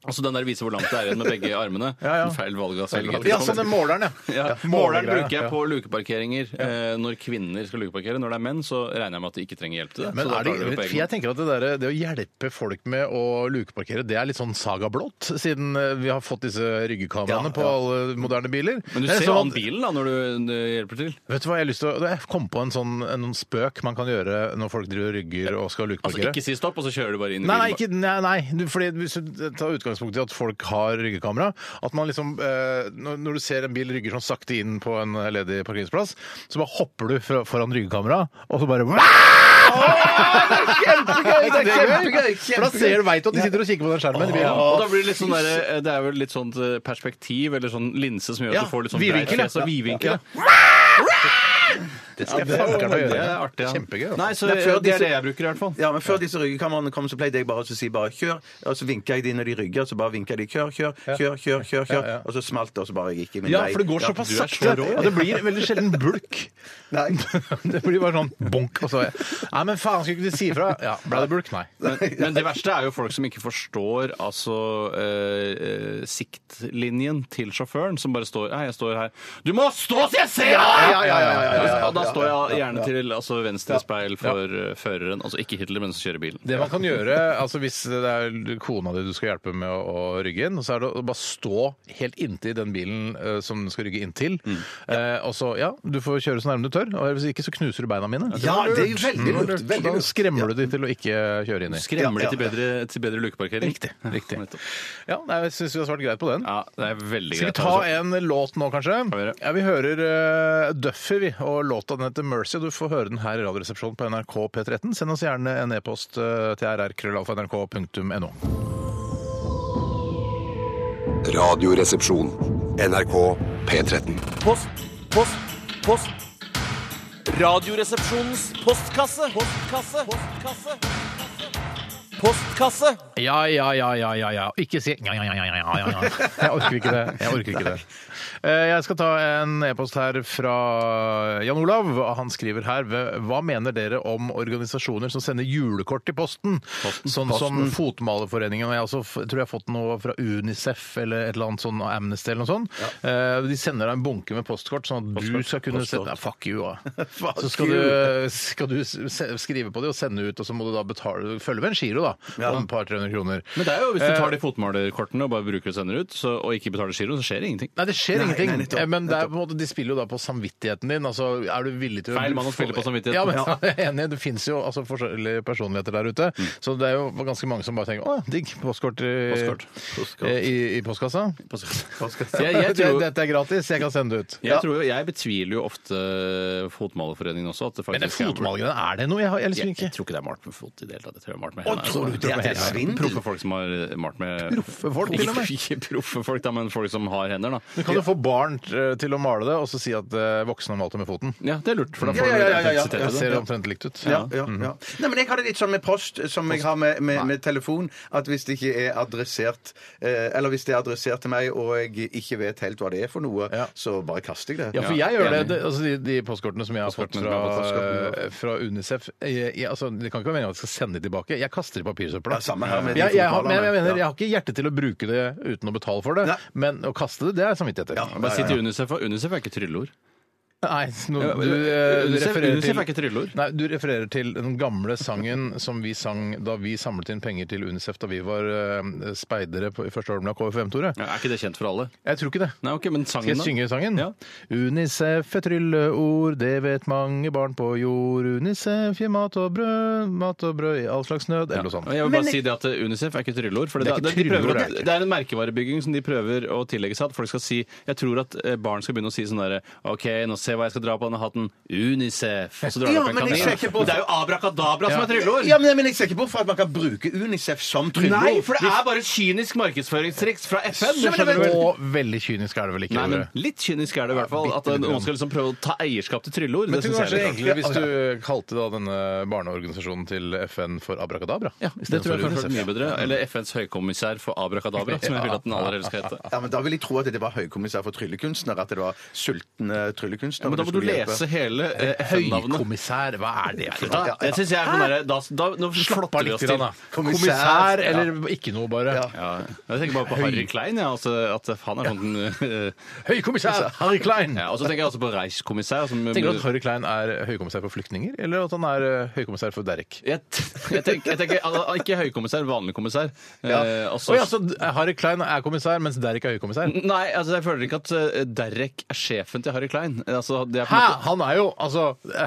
Altså den der viser hvor langt det er igjen med *laughs* begge armene. Ja, ja. Feil valg av selv. Ja, sånn den måleren, ja. Ja, Ja, Måleren målegreier, bruker ja. jeg på lukeparkeringer eh, når kvinner skal lukeparkere. Når det er menn, så regner jeg med at de ikke trenger hjelp til det. Men så da er det, klarer de det på for egen jeg tenker at det, der, det å hjelpe folk med å lukeparkere, det er litt sånn saga blått, siden eh, vi har fått disse ryggekameraene på alle moderne biler. Men du Det er ser jo sånn an at- bilen da, når du eh, hjelper til. Vet du hva, jeg har lyst til å Jeg kom på en sånn en spøk man kan gjøre når folk driver og rygger og skal Altså lukeparkere. Ikke si stopp, og så kjører du bare inn i Nei, nei, bilen. ikke, nei, nei. Du, fordi hvis du tar utgangspunkt i at folk har ryggekamera At man liksom eh, Når når du ser en bil rygger sånn sakte inn på en eh, ledig parkeringsplass, så bare hopper du fra, foran ryggekameraet, og så bare *laughs* Kjempegøy! Det er kjempegøy! For da ser du, veit du at de sitter og kikker på den skjermen. i bilen. Og da blir det litt sånn der, eh, det er vel litt sånt eh, perspektiv eller sånn linse som gjør at Ja, du får litt sånn vidvinkel, breit fjes ja. og vidvinkel. Ja. Det skal jeg Ja, faen meg det gjøre. er artig. Ja. Kjempegøy. altså. Nei, så Det det er er før det disse- jeg bruker i hvert fall. Ja, men Før disse ryggekameraene kom, så pleide jeg bare å si bare kjør. Og så vinka jeg de når de rygger, så bare vinka de kjør, kjør, kjør, kjør. kjør, kjør. Ja, ja. Og så smalt det, og så bare gikk jeg min Ja, vei. for det går Ja, såpass du er sakte. så rå. Ja, det blir veldig sjelden bulk. *laughs* Nei. Det blir bare sånn bonk, og så er jeg, Nei, men faen, skulle ikke de si ifra? Ja, ble det bulk? Nei. *laughs* Men, men det verste er jo folk som ikke forstår altså eh, eh, siktlinjen til sjåføren, som bare står Hei, jeg står her. Du må stå så jeg ser deg! Ja, ja, ja, ja, ja, ja. Og da står jeg gjerne til altså, venstre speil for eh, føreren. Altså ikke Hitler, men som kjører bilen. Det man kan gjøre, altså hvis det er kona di du skal hjelpe med å, å rygge inn, så er det å bare stå helt inntil den bilen eh, som du skal rygge inntil. Mm. Eh, og så, ja, du får kjøre så nærme du tør, og hvis ikke så knuser du beina mine. Ja, det er jo veldig lurt. Så Veldig Da lurt. skremmer du de til å ikke kjøre inn i. Skremmer de til bedre, til bedre lukeparkering? Riktig. riktig. Ja, nei, jeg syns vi har svart greit på den. Ja, det er veldig Skal vi greit. altså. ta en låt nå, kanskje? vi gjøre. Ja, Vi hører eh, Duffy, vi. Og låta den heter Mercy. og Du får høre den her i Radioresepsjonen på NRK P13. Send oss gjerne en e-post eh, til rrkrøllalfa.nrk.no. Radioresepsjon. NRK P13. Post, post, post. Radioresepsjonens postkasse. Postkasse. Postkasse. Postkasse. Ja, ja, ja, ja, ja, ja. Ikke si ja, ja, ja, ja, ja, ja, ja. *laughs* Jeg orker ikke det. Jeg orker ikke det. Eh, Jeg skal ta en e-post her fra Jan Olav. Han skriver her Hva mener dere om organisasjoner som sender julekort i posten? Sånn som Fotmalerforeningen. Og jeg også f- tror jeg har fått noe fra Unicef eller et eller annet sånn Amnesty eller noe sånt. Eh, De sender deg en bunke med postkort, sånn at du skal kunne sette Nei, Fuck you, *laughs* da. Så skal du, skal du se- skrive på det og sende ut, og så må du da betale Følge med en giro, da, om et par-tre hundre kroner. Men det er jo, hvis Eh, du tar de fotmalerkortene og bare bruker og sender ut, så, og ikke betaler giroen, så skjer det ingenting. Nei, det skjer ingenting. nei, nettopp, Eh, men det er på en måte, de spiller jo da på samvittigheten din. Altså, er du villig til Feil mann å spille på samvittigheten. Ja, men *laughs* jeg er enig. Det fins jo altså, forskjellige personligheter der ute. Mm. Så det er jo ganske mange som bare tenker å, digg, postkort, i, Postkort. eh, I, i postkassa. Jeg, jeg, *laughs* tror, Det- Dette er gratis, jeg kan sende det ut. jeg, tror, jo- jeg betviler jo ofte Fotmalerforeningen også. At det Men det faktisk fotmalingene, er det noe? Jeg, har- jeg, liksom Jeg, jeg ikke tror ikke det er malt med fot i det hele tatt. Jeg tror det er malt med hendene. tror du det er det er svindel? Proffe folk som har eh, malt med Proffe folk, til og med. Ikke- *laughs* Ikke proffe folk, da, men folk som har hender, da. Men kan du få barn eh, til å male det, og så si at eh, voksne har malt det med foten? Ja, det er lurt, for da får Ja, ja, du ja, ja, ja. identitet i Det det. ser omtrent likt ut. Ja, ja, ja. Nei, men jeg har det litt sånn med post som jeg har med, med, med telefon, at hvis det ikke er adressert eh, Eller hvis det er adressert til meg, og jeg ikke vet helt hva det er for noe, Ja. så bare kaster jeg det. Ja, for Ja, jeg gjør det. enig. det altså de, de postkortene som jeg har fått Postkortene fra, som jeg har fått, eh, fra Unicef jeg, jeg, altså, Det kan ikke være meningen at jeg skal sende de tilbake. Jeg kaster de i Ja, papirsøpla. samme her med de jeg, jeg, har- men jeg, fotballene. mener, jeg Ja. har ikke hjerte til å bruke det uten å betale for det, Nei. men å kaste det, det er samvittigheter. Bare si til UNICEF, og UNICEF er ikke trylleord. Nei, nå- Ja, du, eh, du UNICEF, refererer UNICEF til er ikke trylleord. Nei, Du refererer til den gamle sangen som vi sang da vi samlet inn penger til Unicef da vi var eh, speidere på, i første Holmlia KFM-toret. Ja, er ikke det kjent for alle? Jeg tror ikke det. Nei, ok, men sangen Skal jeg synge sangen? Ja. Unicef er trylleord, det vet mange barn på jord. Unicef gir mat og brød, mat og brød i all slags nød, eller noe Og sånt. Jeg vil bare si det at eh, Unicef er ikke trylleord. For det, Det er ikke det, de prøver trylleord, at- det er ikke. det er en merkevarebygging som de prøver å tillegge seg. At folk skal si Jeg tror at eh, barn skal begynne å si sånn derre OK, nå se hva jeg skal dra på denne hatten. Unicef. Og så drar du Ja, opp en men jeg ser ikke kanin. på- Det er jo abrakadabra som er trylleord! Ja, men, men jeg ser ikke bort fra at man kan bruke Unicef som trylleord. Nei, for det er bare et kynisk markedsføringstriks fra FN. Så det skjønner du vel? Og veldig kynisk er det vel ikke? Nei, men Tore? litt kynisk er det i hvert fall. At bitte lite noen grann. skal liksom prøve å ta eierskap til trylleord. Men Det det synes kanskje jeg er litt enklere rart. hvis du kalte da denne barneorganisasjonen til FN for Abrakadabra. Ja, det tror jeg istedenfor kanskje er UNICEF. mye bedre. Eller FNs høykommissær for abrakadabra, som jeg vil at den aller helst skal hete. Ja, men Da vil jeg tro at det var høykommissær for tryllekunstnere. At det var sultne tryllekunstnere. Men da må du skulle hjelpe. lese hele eh, FN-navnet. Høykommissær, hva er det for Ja, noe? det synes jeg er sånn derre da, da, Nå Slapp flotter av vi litt, oss grann, til. da. Kommissær, Kommissær eller ikke noe, bare. Ja, jeg tenker bare på Harry Klein, ja, altså, at han er sånn eh, Høykommissær Harry Klein! ja, Og så tenker jeg også på Reichskommissær. Som, Tenker du at Harry Klein er høykommissær for flyktninger, eller at han er eh, høykommissær for Derek? jeg, t- jeg tenker, jeg tenker al- al- Ikke høykommissær, vanlig kommissær. Eh, altså- Å ja, så eh, Harry Klein er kommissær, mens Derek er høykommissær? Nei, altså, jeg føler ikke at eh, Derek er sjefen til Harry Klein. Eh, Altså, det er på Hæ? en måte Han er jo, altså,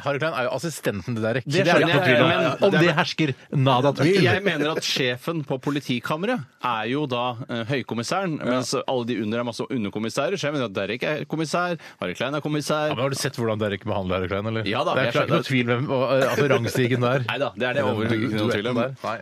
Harry Klein er jo assistenten til Derek. Det er skjønner ikke noe jeg, tvil om. men- Om det hersker nada tvil. Jeg mener at sjefen på politikammeret er jo da eh, høykommissæren, mens alle de under er masse underkommissærer. Så jeg mener at Derek er kommissær, Harry Klein er kommissær. Ja, men har du sett hvordan Derek behandler Harry Klein? eller? Ja da, det er jeg klart ikke noe tvil hvem og, eh, altså, rangstigen *laughs* der. Nei da, det er det overhodet ikke noe tvil om. Nei.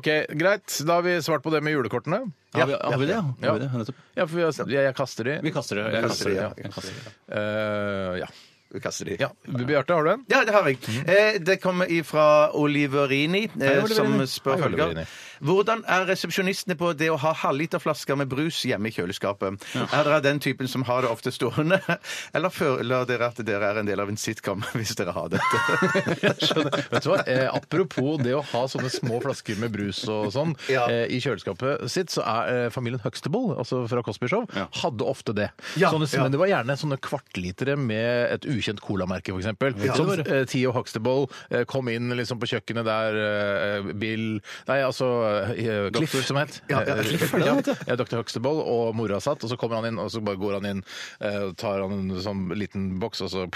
OK, greit. Da har vi svart på det med julekortene. Har vi- har vi det? ja? Har vi det? Nettopp. Ja, for vi har- jeg, jeg kaster de. Vi kaster det. Jeg kaster det. Jeg kaster det. Eh, ja. Vi kaster de. ja. Bjarte, har du en? Ja, det har jeg. Mm. Eh, det kommer ifra Oliverini, eh, som Oliverini. spør Hei, Oliverini. følger. Hvordan er resepsjonistene på det å ha halvliterflasker med brus hjemme i kjøleskapet? Er dere den typen som har det ofte stående? *laughs* Eller føler dere at dere er en del av en sitcom *laughs* hvis dere har dette? Vet du hva? Eh, apropos det å ha sånne små flasker med brus og sånn Ja. eh, i kjøleskapet sitt, så er eh, familien Huxtable, altså fra Cosby Show, hadde ofte det. Ja, sånne, ja. Men det var gjerne sånne kvartlitere med et ukjent colamerke, f.eks. Ja. Som eh, Theo Huxtable eh, kom inn liksom, på kjøkkenet der eh, Bill Nei, altså eh, Cliff, som het. Ja, ja, Eh, Cliff, er det ja, han het, ja, Dr. Huxtable og mora satt, og så kommer han inn, og så bare går han inn, eh, tar han en sånn liten boks, og så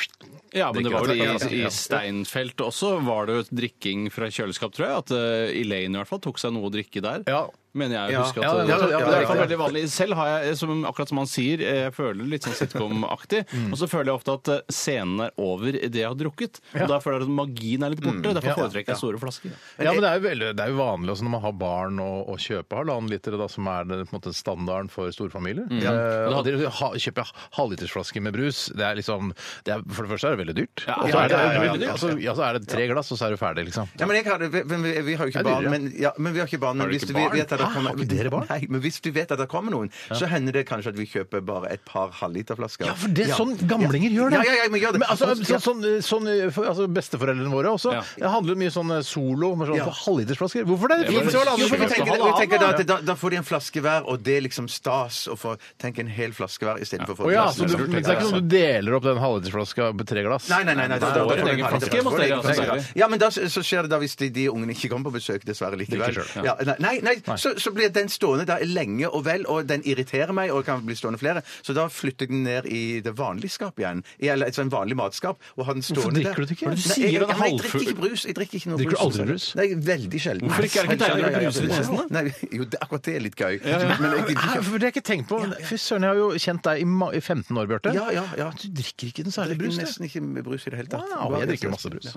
Ja, men det var vel Drikker i, i han. Steinfeld også var det jo drikking fra kjøleskap, tror jeg. At eh, Elaine i hvert fall tok seg noe å drikke der. Ja. Mener jeg Ja. husker at Ja, det, ja, ja, det er i hvert fall ja, ja. veldig vanlig. Selv har jeg, som, akkurat som han sier, eh, jeg føler litt sånn sitcom-aktig. *laughs* Og så føler jeg ofte at eh, scenen er over i det jeg har drukket. Og da føler jeg at magien er litt borte. Derfor foretrekker jeg store flasker. Ja, men det er jo, veldig, det er jo vanlig også når man har barn å, å kjøpe halvannen liter, da, som er det, på en måte standarden for storfamilier. Mm. Eh, og det å ha, kjøpe halvlitersflasker med brus, det er liksom det er, For det første er det veldig dyrt. Ja, og så er det, ja, ja, ja, ja. altså, ja, så er det tre glass, og så er du ferdig, liksom. Ja, men jeg hadde, vi, vi, vi har jo ikke Det er barn, dyrere. men, ja, men vi har ikke barn. Men du hvis ikke vi barn? vet at det Hæ, kommer har ikke dere barn? Nei, men hvis vi vet at det kommer noen, så hender det kanskje at vi kjøper bare et par halvliterflasker. Ja, for det er sånn gamlinger gjør det. Ja, ja, ja, men gjør det. Men altså, så, sånn, sånn, for, altså, besteforeldrene våre også. Ja. Det handler jo mye sånn eh, solo med sånn Ja. for halvlitersflasker. Hvorfor det? Det var finnes jo alle Jo, andre for vi flasker. tenker, vi tenker da, at da, da får de en flaske hver, og det er liksom stas å få tenke en hel flaske hver istedenfor å få Å et ja, glass. så du, men det er ikke sånn du deler opp den halvlitersflaska på tre glass? Nei, nei, nei. nei da, da, Får da, en får du egen en flaske, halvliter. må Får en dere egen altså flaske. Ja, men da så så skjer det da hvis de, de ungene ikke kommer på besøk, dessverre, likevel. Drikker selv, Ja, nei, nei, nei, så, så blir den stående der lenge og vel, og den irriterer meg, og kan bli stående flere, så da flytter jeg den ned i det vanlige skap igjen. I, eller et sånt vanlig matskap, og har den stående der. drikker du det ikke? Nei, Du jeg- sier den er ja, men Jeg drikker halvfull. ikke brus. Jeg drikker ikke noe Drikker du aldri selvfølgelig. brus? Nei, veldig sjelden. Hvorfor ikke? Er det ikke deilig å bruse litt i nesen, Nei, jo, det, akkurat det er litt gøy. Men jeg gidder Hæ, ikke. for det har jeg ikke tenkt på. Fy søren, jeg har jo kjent deg i ma- i 15 år, Bjarte. Ja, ja, ja. Du drikker ikke noe Jeg særlig brus, du. drikker nesten ikke brus i det hele tatt. Wow, jeg drikker masse brus.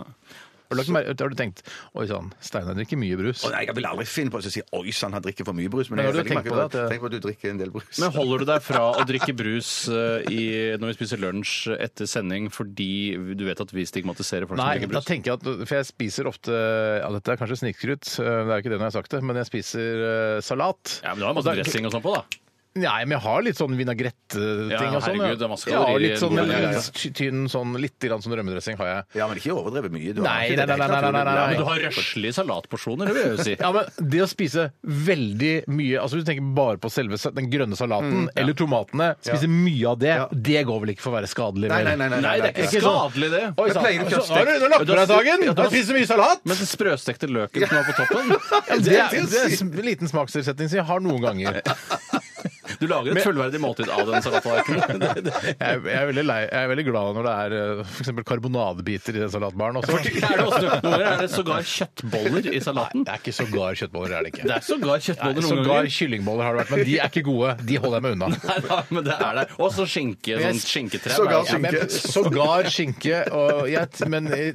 Har du, lagt mer- har du tenkt Oi sann, Steinar drikker mye brus. Å nei, Jeg vil aldri finne på å si 'oi sann, han drikker for mye brus'. Men Men jeg, har du tenker tenkt meg på det ikke at- Tenk på at du drikker en del brus. Men holder du deg fra å drikke brus eh, i, når vi spiser lunsj etter sending fordi du vet at vi stigmatiserer folk som Nei, drikker da brus? tenker jeg at, for jeg spiser ofte ja, Dette er kanskje snikskryt, det er jo ikke det når jeg har sagt det, men jeg spiser eh, salat. Ja, men Du har masse dressing og sånn på, da. Nei, men jeg har litt sånn vinagrette-ting Ja, og sånn. herregud, det er masse ja, kalorier i litt sånn en god- Ja, ja, ja. litt tynn sånn, litt grann sånn rømmedressing har jeg. Ja, men ikke overdrevet mye. Du har Nei, ikke nei, nei, det, det er nei, klart nei, du- nei, nei. Men du har røslige salatporsjoner, det vil *laughs* jeg jo si. Ja, men det å spise veldig mye Altså Hvis du tenker bare på selve sa- den grønne salaten Mm, eller tomatene, spise mye av det, det går vel ikke for å være skadelig? Nei, vel? nei, nei, nei, Nei, det er ikke Ikke sånn. skadelig, det. Oi, Jeg sant. pleier ikke å Så har du steke- nå lagt på deg dagen! Ja, Du da- har spist så mye salat! Men den sprøstekte løken som var på toppen Det er, det er en liten smakstilsetning som jeg har noen ganger. Du lager et fullverdig måltid av den *laughs* salattallerkenen. Det- det- Jeg, jeg, er veldig lei, jeg er veldig glad når det er f.eks. karbonadebiter i den salatbaren *laughs* også. Er det også noen ganger er det sågar kjøttboller i salaten? Det er ikke sågar kjøttboller, er det ikke. Det er sågar Nei, kjøttboller noen Sågar ganger. kyllingboller har det vært, men de er ikke gode. De holder jeg meg unna. Nei, da, men det er der. Og så skinke. Men Sånn jeg- skinketre. Sågar Ja, men- skinke. Sågar skinke. Og jeg, men eh,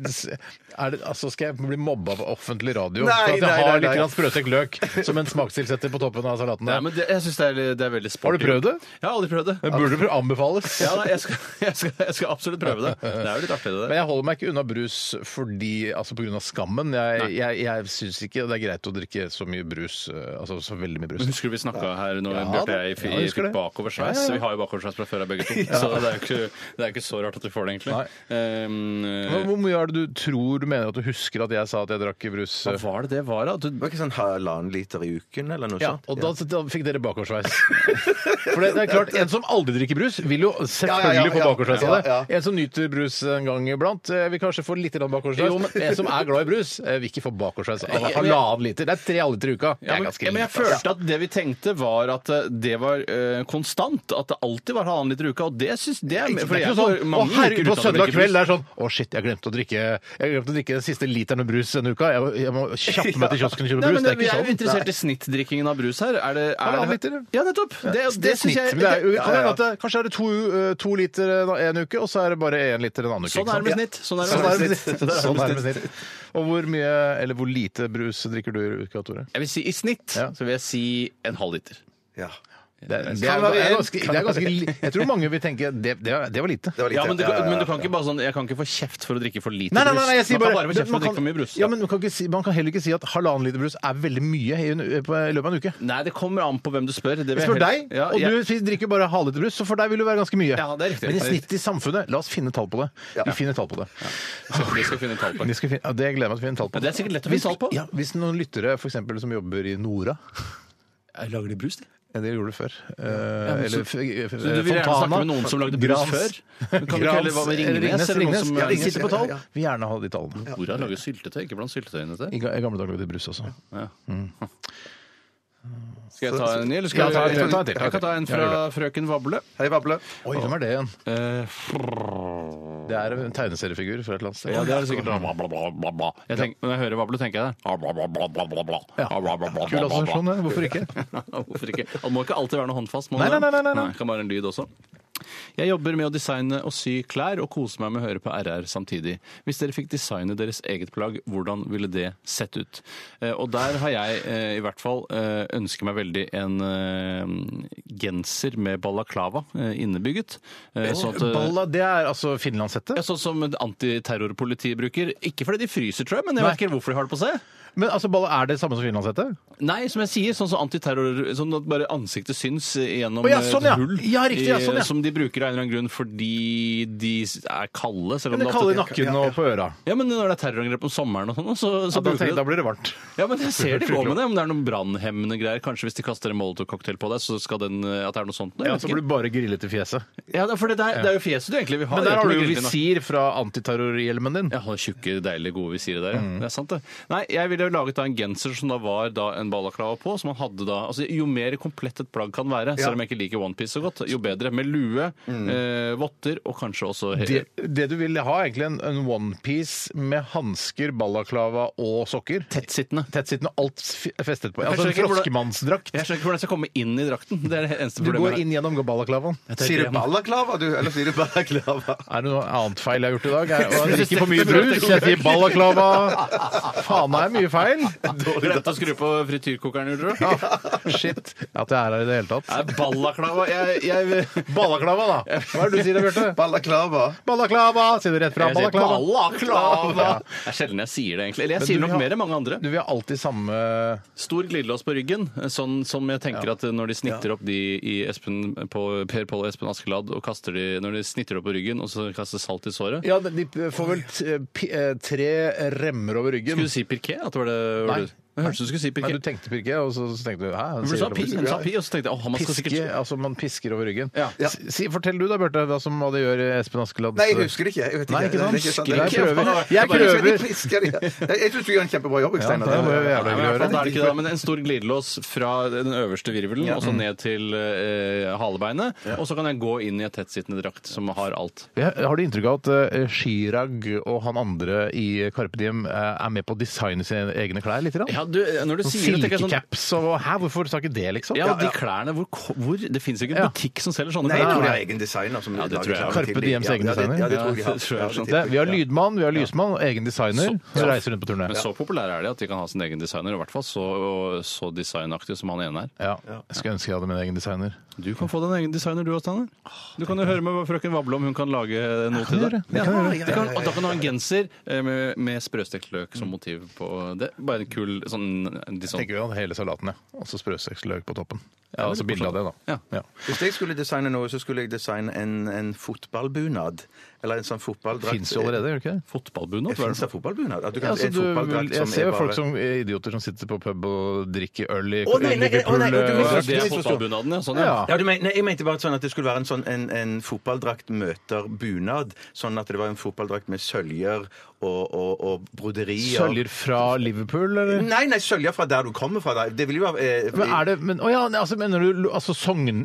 er det, altså skal jeg bli mobba på offentlig radio Nei, for at jeg nei, nei, har nei. litt grann sprøstekt løk som en smakstilsetter på toppen av salaten? Nei, men det, jeg syns det, er- det er veldig sporty. Har du prøvd det? Jeg har aldri prøvd det. Det burde anbefales. Ja, nei, jeg, skal, *laughs* jeg, skal, jeg skal absolutt prøve det. Det er jo litt artig, det Men der. jeg holder meg ikke unna brus fordi, altså pga. skammen. Jeg, jeg, jeg syns ikke det er greit å drikke så mye brus. eh, Altså så veldig mye brus. Husker du vi snakka her når Ja, Bjarte da. og jeg Ja, fi- jeg husker fikk det. bakoversveis? Ja, ja, ja. Vi har jo bakoversveis fra før av *laughs* begge to, så det er jo ikke, det er jo ikke så rart at vi får det, egentlig. Nei. Ehm, Hvor hvor mye er det du tror du mener at du husker at jeg sa at jeg drakk brus? eh, hva var det det var, da? Du, Det var ikke sånn halvannen liter i uken, eller noe Ja, sånt? og da, da fikk dere bakoversveis. For det, det er klart, En som aldri drikker brus, vil jo selvfølgelig få bakoversveis av det. Ja, En som nyter brus en gang iblant, eh, vil kanskje få litt grann bakoversveis. Jo, men- En som er glad i brus, eh, vil ikke få bakoversveis av halvannen liter. Det er tre halvliter i uka. Det ja, er men, ganske ja, men jeg lite, altså. ass. følte at det vi tenkte, var at eh, det var eh, konstant. At det alltid var halvannen liter i uka. Og det syns det er Det for er jeg ikke sånn, får å mange herregud, uker på uten å søndag drikke kveld brus. det er sånn Å, shit, jeg glemte å drikke Jeg glemte å drikke den siste literen med brus denne uka. Jeg, jeg må kjappe *laughs* meg til kiosken og kjøpe Nei, brus. men det er Vi ikke er jo sånn. interessert i snittdrikkingen av brus her. Er det, er Halvannen liter, ja. Ja, nettopp! Det, det, Det er syns snitt. jeg men det er, jo- kan hende at det, kanskje er det to, eh, to liter eh, en uke, og så er det bare én liter en annen uke. Sånn ikke er det med sant? snitt. Sånn er det Sånn med er det med snitt. snitt. Sånn er det med snitt. Og hvor mye, eller hvor lite brus drikker du i uka, Tore? Jeg vil si I snitt Ja. så vil jeg si en halv liter. Ja. Det, er- det, Kan er, variere. det, er ganske, det er ganske li- Jeg tror mange vil tenke det, det, var- det var lite. Det var lite. Ja, men du, kan- ja, ja, men du ja. kan ikke bare sånn Jeg kan ikke få kjeft for å drikke for lite Nei, nei, nei, brus. nei, jeg sier man bare kan bare få kjeft for man å drikke kan- for mye brus. Ja, men man kan, ikke si, man kan heller ikke si at halvannen liter brus er veldig mye i, en- på, i løpet av en uke. Nei, det kommer an på hvem du spør. Det Jeg vil jeg spør heller- deg, Ja, og jeg- du sier- drikker bare halvliter brus, så for deg vil det være ganske mye. Ja, det er riktig. Men i snitt i samfunnet, la oss finne tall på det. Vi finner tall på det. Så vi skal finne tall på. Vi skal finne, ja, det gleder jeg meg til å finne tall på. Ja, det er sikkert lett å finne Hvis- tall på. Ja, hvis noen lyttere for eksempel, som jobber i Nora Lager de brus, de? ja, Det gjorde du før. Eh, men så- eller f- eh, Så du vil gjerne Fontana, snakke med noen som lagde brus Grans- før? Men Kan du ikke Grans heller hva med eller Ringnes? Eller noen Ringnes, som Ja, Ringnes sitter på tall. ja, ja. Vil gjerne ha de tallene. Hvor har laget syltetøy? Ikke blant syltetøyene I til? ga- i gamle dager lagde de brus også. Ja. Skal jeg ta en ny, eller Ja, skal ta en til, jeg ta en til, ta en Jeg kan ta en til. Ja, gjør fra Frøken Vable. Hei, Vable. Oi, hvem er det igjen? Eh, Det er en tegneseriefigur fra et eller annet sted. Ja, det er det sikkert bla, bla, bla, bla, bla. Jeg tenker, Når jeg hører Vable, tenker jeg det. Ah, bla, bla, bla, bla, bla, bla. Ja. Ah, bla, bla, bla, Kul bla, bla, bla. assosiasjon, ja. hvorfor ikke? Hvorfor ikke? Det må ikke alltid være noe håndfast. må Nei, det? nei, nei, nei, nei. Kan være en lyd også. Jeg jobber med å designe og sy klær og koser meg med å høre på RR samtidig. Hvis dere fikk designe deres eget plagg, hvordan ville det sett ut? Eh, og der har jeg eh, i hvert fall eh, ønsker meg veldig en eh, genser med balaklava eh, innebygget. Eh, sånn at, eh, Balla, det er altså finlandshette. ja, sånn som antiterrorpolitiet bruker. Ikke fordi de fryser, tror jeg, men jeg Nei. vet ikke helt hvorfor de har det på seg. Men altså, balla er det samme som finlandshette? Nei, som jeg sier, sånn som antiterror Sånn at bare ansiktet syns gjennom Å, ja, et sånn, ja. hull. Ja, riktig, ja, eh, sånn, ja. Som de bruker av en eller annen grunn fordi de er kalde. Selv om Eller det kalde i ofte- nakken og på øra? Ja, men når det er terrorangrep om sommeren og sånn, Ja, så, så da, bruker tenker, de jeg- da blir det varmt. Ja, men jeg *laughs* ser de går med det. Om det er noen brannhemmende greier. Kanskje hvis de kaster en molotovcocktail på deg, så skal den eh, At det er noe sånt. Ja, så blir du bare grillet i fjeset. ja for det, der, det er jo fjeset du egentlig vil ha. Men der Det er har ikke du noe jo grill i nakken. visir fra antiterrorhjelmen din. Ja, han tjukke, deilige, gode visiret der, ja. Mm. Det er sant, det. Nei, jeg ville jo laget da en genser som da var da en balaklava på, som man hadde da Altså, jo mer komplett et plagg kan være, selv om jeg ikke liker onepiece så godt, jo bedre. Med lue, eh, votter og kanskje også Mm. Det, det du vil ha, er egentlig en, en onepiece med hansker, ballaklava og sokker. tettsittende. Tettsittende, alt f- festet på. Jeg Altså en skjønner ikke hvordan- froskemannsdrakt. Jeg skjønner ikke hvordan jeg skal komme inn i drakten. Det er det eneste Du går problemet. inn gjennom ballaklavaen. Sier du balaklava, du? Eller sier du balaklava? Er det noe annet feil jeg har gjort i *laughs* dag? Jeg, jeg drikker for mye brus, jeg sier ballaklava. *laughs* Faen, det er mye feil. *laughs* Glemte å skru på frityrkokeren, gjorde du? Shit. At jeg er her i det hele tatt. Nei, ballaklava jeg, jeg, Ballaklava, da. Hva er det du sier, Bjarte? Balaklava. Ballaklava, sier du rett fra. jeg sier Ballaklava. ballaklava! Det er sjelden jeg sier det, egentlig. Eller jeg Men sier du nok har- mer enn mange andre. Du vil ha alltid samme Stor glidelås på ryggen, sånn som jeg tenker at når de snitter opp de i Espen, på Per Pål og Espen Askeladd og kaster de, når de snitter opp på ryggen og så kaster salt i såret. Ja, de får vel eh, tre remmer over ryggen. Skulle du si pirké? At det var det, var Nei, det- Jeg hørte du skulle si Nei, pirke. du tenkte pirke, og så så tenkte du hæ? Men Du sa pi, hun sa pi, og så tenkte jeg åh, man skal Piske, sikkert altså man pisker over ryggen. Ja. S- Si, fortell du da, Bjørte, hva som hva det gjør i Espen Askeladd. Nei, jeg husker det ikke. Jeg vet ikke. Nei, ikke sant? Det er sant. Det er Jeg ikke- prøver. Jeg prøver. Jeg pisker det. Jeg- Jeg syns du gjør en kjempebra jobb, Ja, det Steinar. må jeg Nei, jævla men i gjøre. hvert fall, da er det ikke det, men En stor glidelås fra den øverste virvelen og så ned til eh, halebeinet. Og så kan jeg gå inn i et tettsittende drakt som har alt. Jeg har du inntrykk av at eh, Chirag og han andre i Carpe Diem eh, er med på å designe sine egne klær litt? Ja, du, når du sier det, tenker jeg sånn Silkecaps og hæ, hvorfor sa ikke det, liksom? Ja, de klærne, hvor, ko- hvor Det fins ikke en Ja. butikk som selger sånne Nei, jeg tror de klær. har egen designer. Som Ja, det lager tror jeg. klærne Carpe til de- Diems Ja, egen ja, det- Ja, det tror jeg de designer. har. Ja, det tror jeg Ja, er sant. det Det, tipper vi har jeg. lydmann, vi har lysmann og egen designer. Så- som reiser rundt på turné. Men så populære er de at de kan ha sin egen designer, og i hvert fall så, så designaktig som han ene er. Ja. Jeg skulle ønske jeg hadde min egen designer. Du kan få deg en egen designer, du òg, Steinar. Du kan jo høre med hva frøken Vable om hun kan lage noe til deg. gjøre. Det Ja, kan det kan- Og da kan du ha en genser eh, med, med sprøstekt løk som motiv på det. Bare en kul sånn, de sånn Tenker vi om hele salaten, ja. Og så sprøsteksløk på toppen. Ja, Ja, altså det er bilde av det, da. Ja. Hvis jeg skulle designe noe, så skulle jeg designe en, en fotballbunad. Eller en sånn fotballdrakt. Fins jo allerede, gjør det ikke det? fotballbunad. Det hva er det finnes da for- fotballbunad? At du kan Ja, altså, en du, fotballdrakt jeg som ser er jo folk bare- som er idioter som sitter på pub og drikker øl i Å, nei, nei, nei, å, nei, du Liverpool, eh, misforstår. Ja, Det er fotballbunaden, ja. Sånn, ja. Ja. Ja, du men, nei, jeg mente bare sånn at det skulle være en, sånn, en, en fotballdrakt møter bunad. Sånn at det var en fotballdrakt med søljer og, og, og broderier. Søljer fra Liverpool, eller? Nei, nei, søljer fra der du kommer fra. da. Det vil jo være eh, Men er det, men, å ja, altså, mener du altså, Sogn,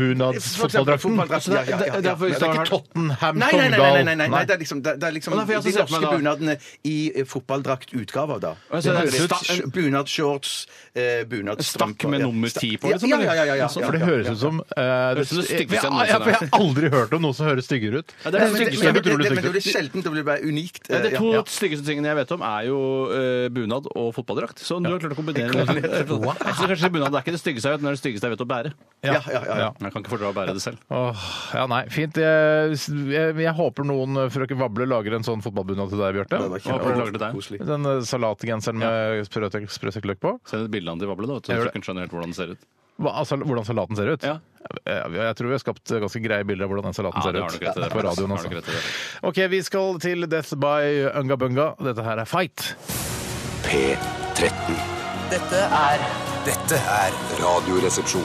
Sogndal-bunadsfotballdrakten? Fotballdrakt, Altså, ja, det, ja, det, ja, ja. det er Ja, det ikke Tottenham, Nei, nei, nei, nei, Sogndal nei, nei, nei, det er liksom, det, det er liksom Å, nei, for jeg har de også sett norske meg da. bunadene i eh, fotballdraktutgaver, da. Og jeg ser det er Sta- sta- en- Bunadshorts, eh, bunadstrømper Stakk med ja. nummer 10 på, Ja, liksom, Ja, eller? ja, ja. ja, ja, Sånn, ja, For det ja, høres ja. ut som eh, Høres ut som det jeg, styggeste jeg ja, for jeg har noensinne har aldri hørt om noe som høres styggere ut. Ja, det er Men det det- styggeste men jeg det- tror men det- det men styggeste. det blir sjelden det blir bare unikt. Ja, de eh, to ja. styggeste tingene jeg vet om, er jo eh, bunad og fotballdrakt. Så du har klart å kombinere det. Jeg synes kanskje bunad er ikke det styggeste jeg vet, men det er det styggeste jeg vet å bære. Ja, ja, ja, ja. Jeg kan ikke fordra å bære det selv. Åh, ja, nei, fint. Jeg, jeg, jeg håper noen frøken Vable lager en sånn fotballbunad til deg, Det var Bjarte. Håper du lager det der. kjempekoselig. Den eh, salatgenseren med sprøtek- sprøstekt løk på. Send et bilde av den til Vable, da, vet du, Jeg så gjør du kan skjønne helt hvordan det ser ut. Hva, altså, hvordan salaten ser ut? Ja. Jeg, jeg tror vi har skapt eh, ganske greie bilder av hvordan den salaten Ja, det har ser nok ut. rett i det. på radioen, Har nok altså. rett i det. Ok, vi skal til Death by Unga Bunga. Dette her er Fight. P13. Dette er Dette er Radioresepsjon.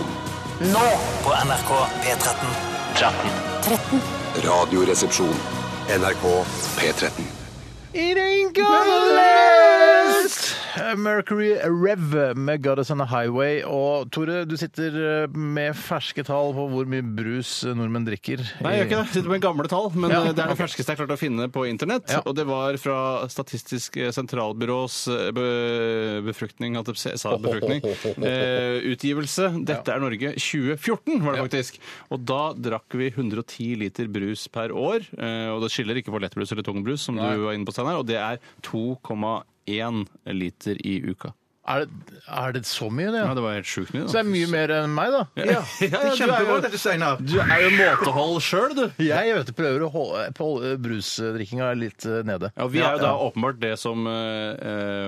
nå på NRK P13. Radioresepsjon. NRK P13. It ain't gonna last! Mercury Rev med Goddess on a Highway. Og Tore, du sitter eh, med ferske tall på hvor mye brus nordmenn drikker. Nei, jeg gjør ikke det. Jeg Sitter med gamle tall, men Ja, eh, det er det ok. ferskeste jeg klarte å finne på internett. Ja. Og det var fra Statistisk eh, sentralbyrås eh, be befruktning, holdt jeg på å si. Jeg sa befruktning, eh, utgivelse. Dette er Norge 2014, var det faktisk. Og da drakk vi 110 liter brus per år. eh, Og det skiller ikke på lettbrus eller tungbrus, som du var inne på, Steinar. Og det er 2,1 liter i uka. Er det, er det så mye, det? Ja, det var helt sjukt mye. Så det er mye mer enn meg, da. *laughs* Ja, ja, ja, du, er Kjempebra, jo, dette, Steinar. du er jo måtehold sjøl, du. Jeg vet, du, prøver å holde på brusdrikkinga litt eh, nede. Ja, Vi er jo da åpenbart det som eh, eh,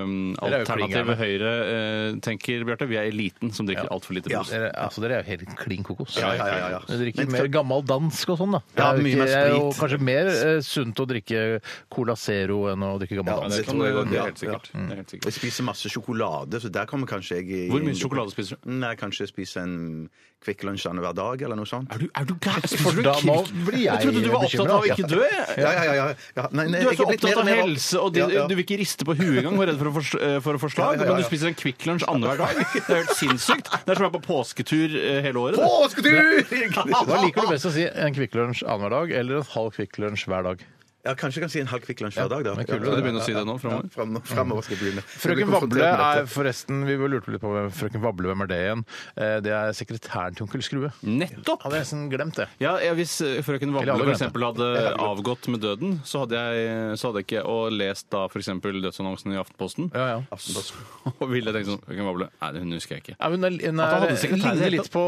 Dere er jo klingerne. alternative Høyre eh, tenker, Bjarte. Vi er eliten som drikker altfor lite Ja. brus. Dere, altså, dere er jo helt klin kokos. Ja, ja, ja, ja. Dere drikker Men- mer gammel dansk og sånn, da. Ja, Det er jo mye ikke- mer det er jo sprit. kanskje mer eh, sunt å drikke Cola Zero enn å drikke gammel Ja, dansk. Det, det kan, tror jeg det, godt, er ja. Mm. helt sikkert. det er helt Jeg sikkert. spiser masse sjokolade, så der kommer kanskje jeg i- Mm, Hvor mye sjokolade spiser du? Nei, Kanskje spise en Kvikk Lunsj annenhver dag, eller noe sånt. Er du, er du gæren? For da må- blir jeg Jeg trodde du var opptatt av å bekymret. ikke dø. jeg. Ja, ja, ja. ja. ja. Nei, nei, Du er jeg så blitt mer opptatt og av mer opp- helse, og de, Ja, ja. du vil ikke riste på huet engang og er redd for å, fors- eh, for å forslag, Ja, ja, ja, ja. men du spiser en Kvikk Lunsj annenhver dag. Det er helt sinnssykt. Det er som å være på påsketur eh, hele året. det. *laughs* Påsketur! Hva liker du best å si? En Kvikk Lunsj annenhver dag eller en halv Kvikk Lunsj hver dag? Ja, kanskje jeg kan si en halv Kvikk Lunsj hver dag, da. men kulere, Skal du begynne å si det nå fremover? Fram- Fremover skal jeg begynne. Frøken Vable er forresten Vi lurte litt på hvem Frøken Vable, hvem er det igjen? Eh, Det er sekretæren til onkel Skrue. Nettopp! Hadde jeg nesten glemt det. Ja, ja, Hvis eh, *laughs* frøken Eller Vable alle for mente. eksempel, hadde avgått med døden, så hadde jeg, så hadde jeg ikke og lest da for eksempel dødsannonsen i Aftenposten. Ja, ja. *laughs* Og ville tenkt sånn Frøken Vable, nei, hun husker jeg ikke. Ja, hun er, hun At han er, hadde sekretær i ligner det hele litt på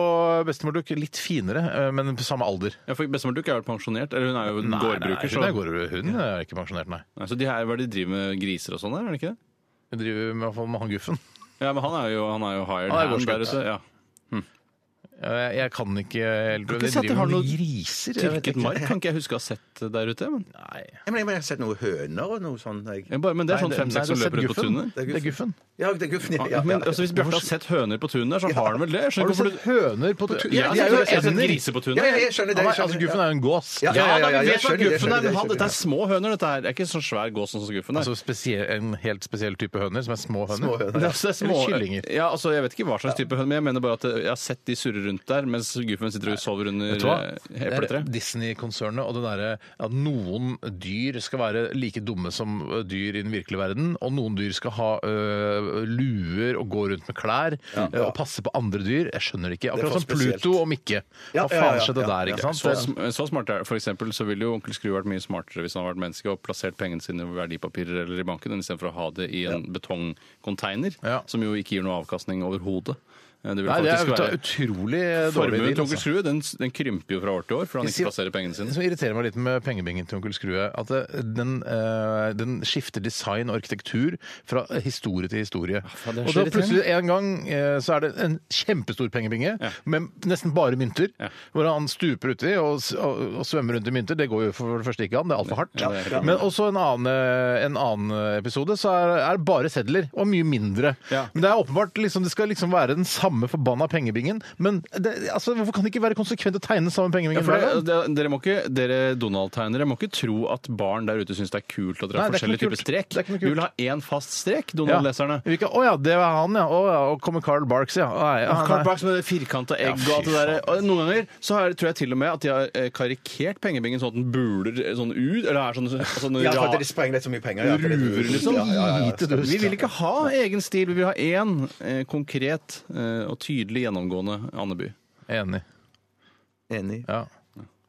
bestemor Duck. Litt finere, eh, men på samme alder. Ja, for Bestemor Duck er vel pensjonert? Eller hun er jo gårdbruker. hun er, Så, gårdbruker. hun eh, er ikke pensjonert, nei. Nei, så de her, hva er det de driver med? Griser og sånn der, er det ikke det? Hun driver i hvert fall med han guffen. Ja, men han er jo, han er jo hired Han er hand gårdsgutt. der ute. Ja. Eh, Jeg kan ikke helt Kan ikke si at de har med noe griser. jeg vet Dyrket ikke. mark kan ikke jeg huske å ha sett der ute. Men, Nei. Jeg mener, jeg har sett noen høner og noe sånt. Jeg. bare, men det er Nei, sånn nei, fem-seks som du har sett løper rundt på guffen. tunet. Det er guffen. Ja, det er guffen. Ja, ja, Men ja. altså, hvis Bjarte har sett høner på tunet, der, så har han vel det? Jeg Har skjønner du ikke hvorfor sett du høner på tunet? Ja, jeg har sett griser på ja, tunet. ja, jeg skjønner det. Han Jeg er- altså, skjønner, Guffen er jo en gås. Ja, ja, Ja, ja, da, ja, vi jeg vet hva skjønner det, jeg guffen er, skjønner det, men han, jeg dette er skjønner det. små høner. Dette her. Det er ikke så svær gås sånn som guffen er. Altså spesiell, en helt spesiell type høner, som er små høner. Små høner. *laughs* Det er også små, Eller kyllinger. Ja, altså, jeg vet ikke hva slags type høner, men jeg mener bare at eh, jeg har sett de surre rundt der, mens guffen sitter og sover under Vet du hva? eh, Det er epletreet. Disney-konsernet og det derre at noen dyr skal være like dumme som ø, dyr i den virkelige verden, og noen dyr skal ha ø, luer og gå rundt med klær ø, og passe på andre dyr. Jeg skjønner det ikke. er for Akkurat som spesielt. Pluto og Mikke. Hva Ja, ja, ja, faen skjedde ja, der, ja. ikke sant? Så, sm- så smart er det. For eksempel så ville jo onkel Skru vært mye smartere hvis han hadde vært menneske og plassert pengene sine i verdipapirer eller i banken, enn istedenfor å ha det i en betongcontainer, Ja. som jo ikke gir noe avkastning overhodet. Eh, Det vil Nei, det er faktisk ut- være utrolig dårlig Formuen deal. til altså. onkel Skrue den, den krymper jo fra år til år, for han ikke plasserer pengene Det sine. som irriterer meg litt med pengebingen til onkel Skrue, at det- den, eh, den skifter design og arkitektur fra historie til historie. faen, det er og så da plutselig en gang eh, så er det en kjempestor pengebinge med nesten bare mynter, hvor han stuper uti og, s- og, og svømmer rundt i mynter. Det går jo for det første ikke an, det er altfor hardt. Ja, det er helt Men også en annen, eh, en annen episode så er, er det bare sedler, og mye mindre. Ja. Men det er åpenbart liksom, det skal liksom være den samme forbanna pengebingen, men det, altså, hvorfor kan det ikke være konsekvent å tegne den samme pengebingen? Ja, for hver gang? det, det, dere må ikke, dere Donald-tegnere må ikke tro at barn der ute syns det er kult at dere har Nei, det er ikke noe forskjellige typer kult. strek. Det er ikke noe Du kult. vil ha én fast strek, Ja. Donald-leserne. Vi kan- Å ja, det var han, ja. Å, ja. Og kommer Carl Barks, ja. Å, nei, Ja, ah, Carl nei. Barks med det firkanta Ja, egg og alt det fy der. Og noen ganger så er, det- tror jeg til og med at de har eh, karikert pengebingen sånn at den buler eh, sånn ut, eller er sånn, sånn Ja, for at rar- de sprenger litt så mye penger. ja, for det- ruver, liksom. Ja, ja, ja, ja. Lite dust. Vi vil ikke ha egen stil, vi vil ha én eh, konkret eh, og tydelig gjennomgående Andeby. Enig. Enig. Ja.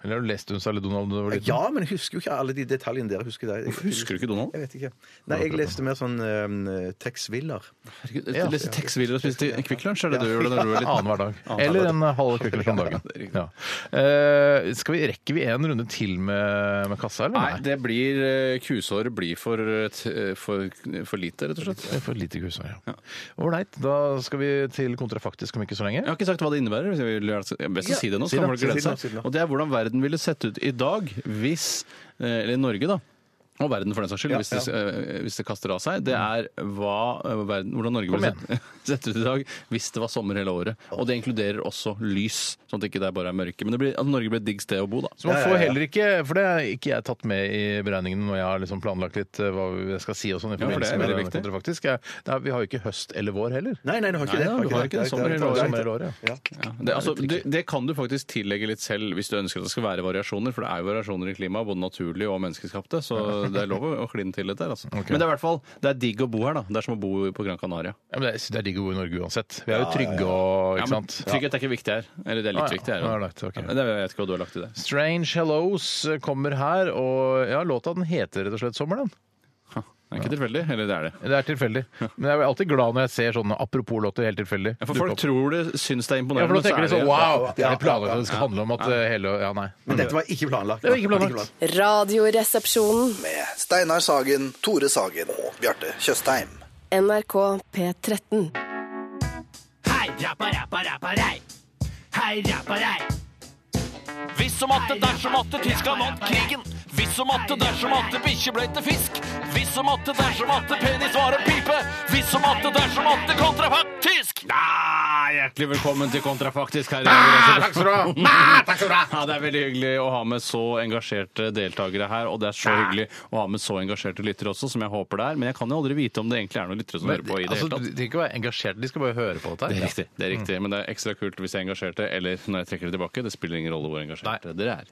Eller har du lest Unsa eller Donald? da du var liten? Ja, men jeg husker jo ikke alle de detaljene dere husker der. Hvorfor husker du ikke Donald? Jeg vet ikke. Nei, jeg leste mer sånn um, Tex Willer. Herregud, Lese tekstbiler og spise Kvikk Lunsj, er det det du gjorde da du var liten? Annenhver dag. Annenhver Eller dag. en halv kvikkløs om dagen. Ja. Eh, skal vi, rekker vi en runde til med, med kassa, eller? Nei, det blir eh, Kusåret blir for, eh, t- eh, for, for lite, rett og slett. Det er For lite kusår, ja. Ålreit, da skal vi til kontrafaktisk om ikke så lenge. Jeg har ikke sagt hva det innebærer. så Jeg vil gjerne- jeg er best å si det nå, si så kan det, si folk det, glede si det, si seg. det. Og det er hvordan verden ville sett ut i dag hvis eh, Eller i Norge, da. Og verden, for den saks skyld, hvis, det, eh, hvis det kaster av seg. Det er hva, eh, verden, hvordan Norge ville sett, sett *laughs* ut i dag hvis det var sommer hele året. Og det inkluderer også lys, sånn at det ikke det bare er mørke. Men det blir, at Norge blir et digg sted å bo, da. Så man får heller ikke, for det har ikke jeg tatt med i beregningen når jeg har liksom planlagt litt eh, hva jeg skal si og sånn i Ja, for det forbindelse er med veldig denne viktig. kontrafaktisk. Jeg- Nei, vi har jo ikke høst eller vår heller. Nei, nei, du har ikke Nei, det. da, du har ikke det. Sommer eller Sommer eller vår, ja. Ja, det, altså, det, det kan du faktisk tillegge litt selv hvis du ønsker at det skal være variasjoner, for det er jo variasjoner i klimaet, både naturlige og menneskeskapte, *laughs* så det er lov å å kline til litt der. Altså. Men det er i hvert fall det er digg å bo her, da. Det er som å bo på Gran Canaria. Ja, men det er, det er digg å bo i Norge uansett. Vi er jo trygge og Ikke Ja, men sant? trygghet er ikke viktig her. Eller det er litt Ah, ja. viktig her. Ja, da. right, ok. Ja, men det vet jeg ikke hva du har lagt i det. Strange Hellos kommer her, og ja, låta den heter rett og slett Sommer, den. Det er ikke tilfeldig, eller det er det. Det er tilfeldig. Men jeg er alltid glad når jeg ser sånne apropos-låter helt tilfeldig. Ja, For dukke folk opp. tror det syns det er ja, for imponerende, da tenker de sånn wow! Det Ja, er planlagt at det skal handle om at eh, hele Ja, nei. Men dette var ikke planlagt. Det var ikke planlagt. Radioresepsjonen. Med Steinar Sagen, Tore Sagen og Bjarte Tjøstheim. NRK P13. Hei, rappa, rappa, rappa, rei. Hei, rappa, rei. Hvis som atte, dersom atte, tyska vant krigen. Hvis som atte, dersom atte, bikkje ble til fisk. Hvis som atte, dersom atte, penis var en pipe. Hvis som atte, dersom atte, kontrafaktisk. Ah, hjertelig velkommen til Kontrafaktisk her. Ah, Takk skal du ha! Ja, det er veldig hyggelig å ha med så engasjerte deltakere her, og det er så hyggelig å ha med så engasjerte lyttere også, som jeg håper det er. Men jeg kan jo aldri vite om det egentlig er noen lyttere som Men, hører på i det altså, hele de tatt. trenger ikke å være engasjerte, de skal bare høre på dette. Det er her. riktig, det er riktig, men det er ekstra kult hvis jeg er engasjerte, eller når jeg trekker det tilbake. Det spiller ingen rolle hvor engasjerte dere er.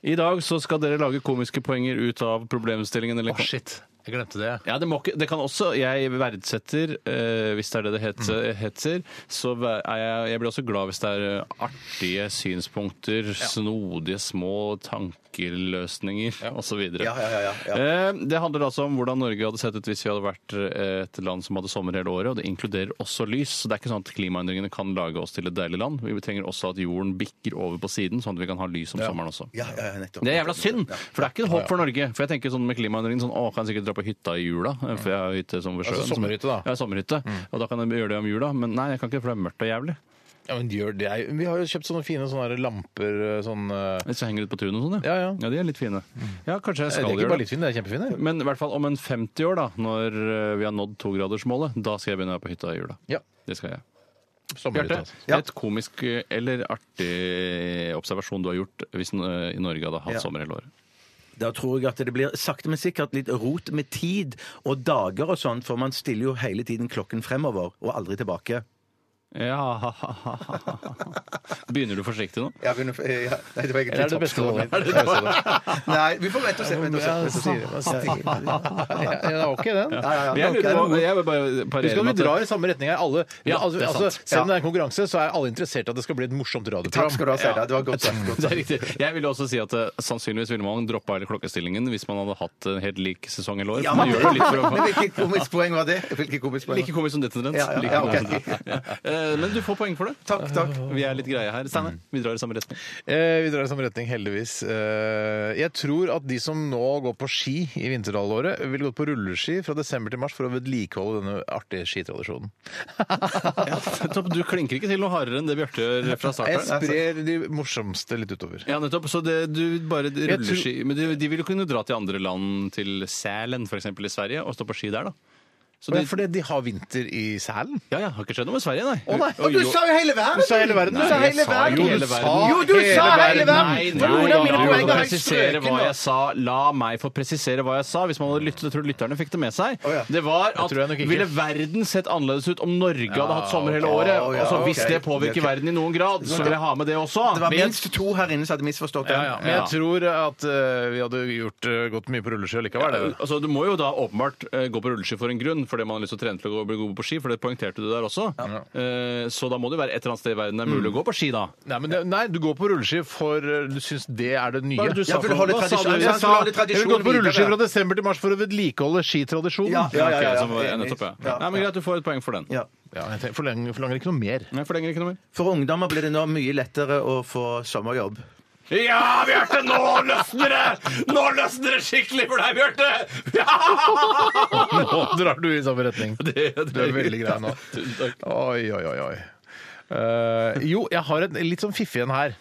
I dag så skal dere lage komiske poenger ut av problemstillingen. Eller Å, Ah, shit. Jeg glemte det. ja, det, må ikke, det kan også Jeg verdsetter, eh, hvis det er det det heter, Mm. heter så væ- er jeg, jeg blir også glad hvis det er eh, artige synspunkter, snodige små tankeløsninger osv. Ja, ja, ja, ja, ja. Det handler altså om hvordan Norge hadde sett ut hvis vi hadde vært eh, et land som hadde sommer hele året, og det inkluderer også lys. Så det er ikke sånn at klimaendringene kan lage oss til et deilig land. Vi trenger også at jorden bikker over på siden, sånn at vi kan ha lys om sommeren også. Ja, ja, ja, nettopp. Det er jævla synd, for det er ikke et håp for Norge. For jeg tenker sånn med klimaendringen sånn, å, kan jeg sikkert dra på hytta i jula, for jeg har hytte sånn ved sjøen. Altså Mm. sommerhytte, da. Ja, sommerhytte. Og da kan jeg gjøre det om jula, men nei, jeg kan ikke, for det er mørkt og jævlig. Ja, men gjør det. Vi har jo kjøpt sånne fine sånne her lamper sånn eh, Hvis jeg henger ut på tunet og sånn, Ja, ja. ja. De er litt fine. Ja, kanskje Det jeg er skal ikke gjøre bare det. litt fine, det er kjempefine. Men i hvert fall om en 50 år, da, når eh, vi har nådd togradersmålet, da skal jeg begynne å være på hytta i jula. Ja. Det skal jeg. Sommerhytte, Bjarte, altså. et komisk eh, eller artig observasjon du har gjort hvis eh, i Norge hadde hatt sommer hele året. Da tror jeg at det blir sakte, men sikkert litt rot med tid og dager og sånn, for man stiller jo hele tiden klokken fremover og aldri tilbake. Ja, *laughs* Begynner du forsiktig nå? Ja, men, eh, ja, nei, det var egentlig Eller er det beste tapsmålet. *laughs* målet? Er det beste målet? Nei, vi får vente og se. Vente og se. Ja, så sier vi- Ja, ja, det var ikke den. Men Jeg, lurer på, jeg vil bare Husk parere at med vi at drar i samme retning her. Alle, Ja, altså, det er sant. altså, selv om det er en konkurranse, så er alle interessert i at det skal bli et morsomt radioprogram. Takk skal du ha, Steinar. Det var godt sagt. Godt Det er sagt. riktig. Jeg ville også si at eh, sannsynligvis ville man droppa hele klokkestillingen hvis man hadde hatt en helt lik sesong hele år. Ja, man men- gjør det litt for å Men *laughs* hvilket komisk poeng var det? Hvilket komisk poeng? Like komisk som ditt omtrent. Ja, ja, Like ja, komisk ok. som ditt. Ja. Eh, Men du får poeng for det. Takk, takk. Vi er litt greie her. Steinar, vi drar i samme retning. Eh, vi drar i samme retning, heldigvis. Eh, jeg tror at de som nå går på ski i vinterhalvåret, vil gå på rulleski fra desember til mars for å vedlikeholde denne artige skitradisjonen. Topp, du klinker ikke til noe hardere enn det Bjarte gjør fra Jeg starten. sprer de morsomste litt utover. Ja, nettopp. Så det, du bare tror- ruller ski. Men de, de vil jo kunne dra til andre land, til Sälen f.eks. i Sverige, og stå på ski der, da. Så de, Men Fordi de har vinter i Sælen? ja, ja, har ikke skjedd noe med Sverige, nei. Å, nei. Og Du jo- sa jo hele verden! Du sa hele verden! Nei, du sa jeg hele sa verden! jo Jo, hele du sa verden. Jo, du sa hele verden! Nei, For nei, hvordan mine nei, poeng nei, har jeg presisere strøket hva nå? jeg sa. La meg få presisere hva jeg sa. Hvis man hadde lyttet, jeg tror lytterne fikk det med seg. ja. Det var at tror jeg nok ikke. ville verden sett annerledes ut om Norge hadde hatt sommer hele ok. året? Å, ja, altså, hvis ok. det påvirker Det er ok. verden i noen grad, så vil jeg ha med det også. Det var Men jeg- minst to her inne som hadde misforstått det. Ja, ja. Men jeg tror at eh, vi hadde gjort, eh, gått mye på rulleski likevel. det. Altså, du må jo da åpenbart eh, gå på rulleski for en grunn, fordi man har lyst til å trene til å gå- bli god på ski, for det poengterte du der også. Eh, Så da må det jo være et eller annet sted i verden det er Mm. mulig å gå på ski, da. Nei, men det, nei, du går på rulleski for eh, du syns det er det nye. Hva er det du sa Ja, for å holde Hva sa du? tradisjonen- Jeg Jeg sa Skal vi holde jeg vil gå tradisjonen på videre? rulleski fra desember til mars for å vedlikeholde skitradisjonen. Ja, ja, ja. Ok, ja, så var- ja, nettopp, ja. Ja. Nei, men Greit, du får et poeng for den. Ja. Ja, jeg tenker, forlanger, forlanger ikke noe mer. Jeg forlenger ikke noe mer. For ungdommer blir det nå mye lettere å få sommerjobb. Ja, Bjarte! Nå løsner det! Nå løsner det skikkelig *laughs* for deg, Bjarte! Ja! Nå drar du i samme retning. Det, det, Du er veldig grei *laughs* nå. Tusen takk. Oi, oi, oi. oi. Eh, jo, jeg har en litt sånn fiffig en her.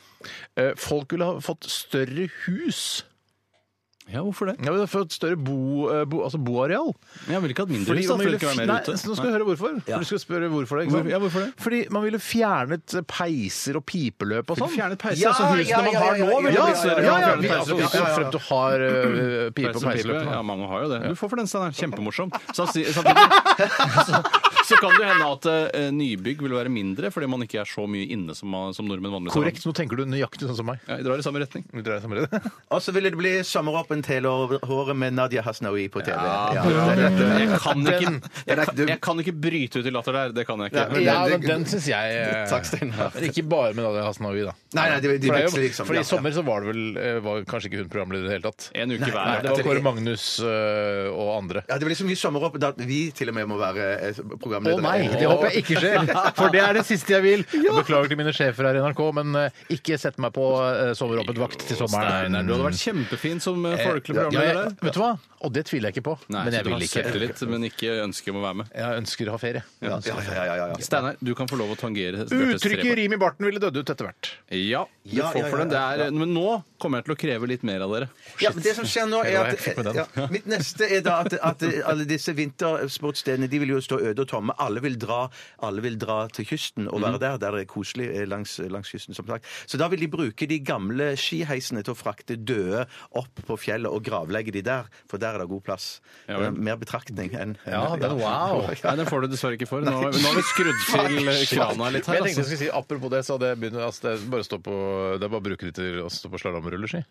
Eh, folk ville ha fått større hus. Ja, hvorfor det? Ja, vi har fått større bo, eh, bo, altså boareal. Jeg ville ikke hatt mindre Fordi hus, da, man for ville det ikke f- være Nei, mer ute. så Nå skal du høre hvorfor. For du skal spørre hvorfor det, ikke Hvor- sant? ja, hvorfor det? Fordi man ville fjernet peiser og pipeløp og sånn. Fjernet peiser, Ja, altså ja, husene man ja, har ja, nå, ja, vil Ja, bli ja, ja, større. ja, Fjernet vi- peiser, altså, ja, ja, ja. Frem til du har eh, pipe og Peisen peiseløp. Piløp, da. Ja, mange har jo det. Du får for den, Steinar. *laughs* Kjempemorsom. Samti- Samtidig *laughs* så, så kan det hende at eh, nybygg vil være mindre fordi man ikke er så mye inne som, man- som nordmenn vanligvis er. Korrekt. Nå tenker du nøyaktig sånn som meg. Ja, jeg drar i samme retning. Vi dreier oss om det. Og så ville det bli sommeråpent hele år- håret med Nadia Hasnaoui på TV. Ja, Jeg kan, ikke, jeg, kan, jeg kan ikke bryte ut i latter der. Det kan jeg ikke. Ja, *laughs* men den syns *laughs* jeg eh, Takk, Steinar. Men Ikke bare med Nadia Hasnaoui, da. Nei, nei, de, de For, det er veksler jo, liksom. for Ja, i sommer så var det vel eh, var kanskje ikke hun programleder i det hele tatt. En uke hver. Nei, det var det- Kåre Magnus eh, og andre. Ja, Det blir så mye sommeråpent at vi til og med må være eh, Å programledere. nei, det håper jeg ikke skjer! For det er det siste jeg vil. Jeg beklager til mine sjefer her i NRK, men eh, ikke sett meg på eh, soveråpent vakt til sommeren. Steinar, du hadde vært kjempefin som eh, folkelig Ja, jeg, programleder der. vet du hva? Og det tviler jeg ikke på. Nei, men jeg vil ikke. Litt, men ikke ønske om å være med. Jeg ønsker å ha ferie. Ja, ja, ja, ja, ja, ja. Steinar, du kan få lov å tangere Bjørtes Uttrykket trepoeng. 'rim i barten' ville dødd ut etter hvert. Ja, du Ja, får ja, for den. Det ja, er, men nå kommer jeg til å kreve litt mer av dere. Ja, men det som skjer nå er Jeg var helt at med den. ja, Mitt neste er da at, at alle disse vintersportsstedene de vil jo stå øde og tomme. Alle vil dra, alle vil dra til kysten og være der der det er koselig eh, langs, langs kysten. som sagt. Så da vil de bruke de gamle skiheisene til å frakte døde opp på fjellet og gravlegge de der, for der er det god plass. Ja vel. Eh, Mer betraktning enn Ja, den- wow. Nei, den får du dessverre ikke for. Nå har vi, nå har vi *laughs* skrudd til eh, krana litt her. Men jeg tenkte jeg Altså. skulle si, Apropos det, så det, begynner, altså, det, er bare å stå på, det er bare å bruke det til å stå på slalåmrulleski.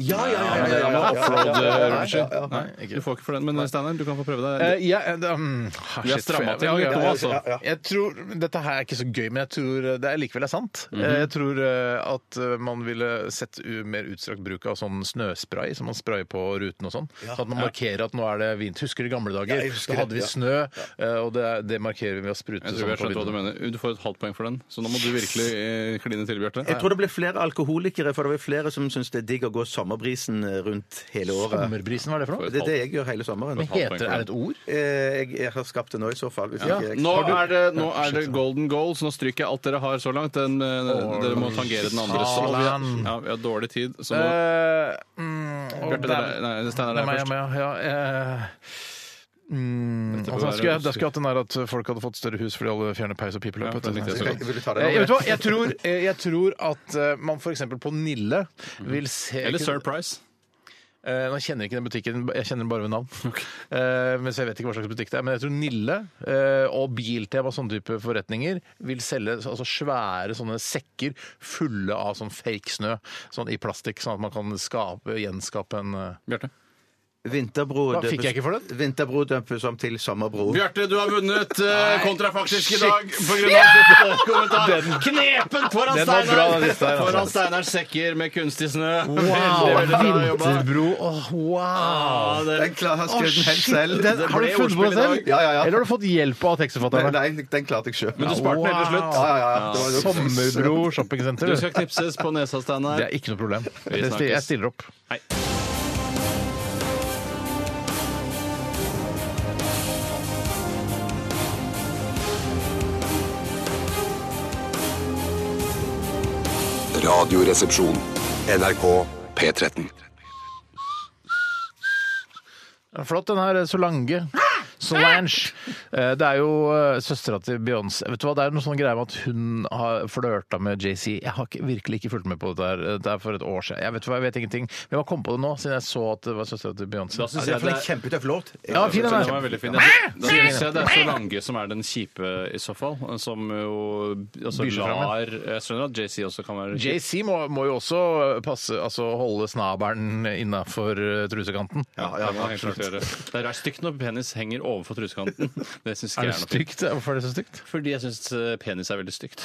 Ja, ja, ja, ja, ja, ja, Ja, ja, men ja, ja, ja, ja. offroad-rulleski. ja, ja. Nei, Nei, ikke. du får ikke for den. Men Steinar, du kan få prøve Eh, deg. ja, det, um, ah, Du er shit, for stramma jeg- til ja, grepet ja, nå, ja. altså. Jeg tror, Dette her er ikke så gøy, men jeg tror det er likevel er sant. Eh, Jeg tror eh, at eh, man ville sett u- mer utstrakt bruk av sånn snøspray som man sprayer på ruten og sånn. Sånn at man markerer at nå er det vinter. Husker du i gamle dager? jeg husker da hadde vi det, snø, eh, og det, det markerer vi ved å sprute Jeg sånn tror jeg på skjønte hva du vinduet. mener. Du får et halvt poeng for den, så nå må du virkelig eh, kline til, Bjarte. Jeg tror det blir flere alkoholikere, for det blir flere som syns det er digg å gå sommerbrisen rundt hele året. Sommerbrisen, hva er det for noe? Det er det jeg gjør hele sommeren. Men heter det, er det et ord? Eh, Jeg, jeg har skapt det nå i så fall. Hvis ikke jeg Nå er, det, nå er det golden goal, så nå stryker jeg alt dere har så langt. Den, eh, dere må tangere den andre. Så vi har, Salan. ja, vi har dårlig tid, så nå Eh, mm, Bjarte, det er- nei, Steinar, det er meg, først. ja, meg, ja, ja, eh, mm, Dette bør altså, da skulle jeg, være- da skulle jeg hatt den der at folk hadde fått større hus fordi alle fjerner peis og Ja, pipeløp. den likte jeg så Eh, godt. vil du ta det nå? jeg vet du hva, jeg tror, eh, jeg tror at eh, man f.eks. på Nille vil se Eller Surprise. Eh, nå kjenner jeg ikke den butikken, jeg kjenner den bare ved *laughs* navn. Eh, men så jeg vet ikke hva slags butikk det er. Men jeg tror Nille eh, og Biltema og sånne type forretninger vil selge så- altså, svære sånne sekker fulle av sånn fake snø sånn i plastikk, sånn at man kan skape, gjenskape en eh, Bjarte. Vinterbro Hva, fikk jeg ikke for den? Vinterbro dømpes om til sommerbro. Bjarte, du har vunnet eh, kontrafaktisk i shit. dag pga. kommentar. Den- Knepen foran Den var bra, den siste her, altså. Foran Steinars sekker med kunstig snø. Veldig, veldig bra jobba. Vinterbro! Åh, wow! Ja, det- Den klar, har skrevet den helt Den, selv. Det har du ble funnet på ordspill den selv? i dag. Ja, ja, ja. Eller har du fått hjelp av Nei, tekstforfatterne? nei, den klarte jeg sjøl. Men du sparte den helt til Wow. slutt. Ja, ja, ja. Det var- Sommerbro shoppingsenter. Du skal knipses på nesa, Det Steinar. er ikke noe problem. Vi snakkes. Jeg stiller opp. Hei. Radioresepsjon. NRK P13. Flott, den her eh, Solange. Solange. Eh, Det er jo eh, søstera til Beyoncé. Vet du hva, Det er noe sånn greie med at hun har flørta med JC. Jeg har ikke, virkelig ikke fulgt med på dette her. Det er for et år siden. Jeg vet, hva, jeg vet ingenting. Men jeg kom på det nå, siden jeg så at det var søstera til Beyoncé. Da syns Det er jeg for det en er kjempetøff låt. Ja, fin den den var er. veldig fin. Jeg- Da syns jeg det er Solange som er den kjipe, i så fall. Som jo altså, Byr seg frem, ja. lar Jeg skjønner at JC også kan være kjip. JC må, må jo også passe, altså holde snabelen innafor trusekanten. Ja, det, må han helt klart gjøre. det er stygt når penis henger overfor trusekanten. Det syns ikke Er det jeg er noe fint. stygt? Hvorfor er det så stygt? Fordi jeg syns eh, penis er veldig stygt.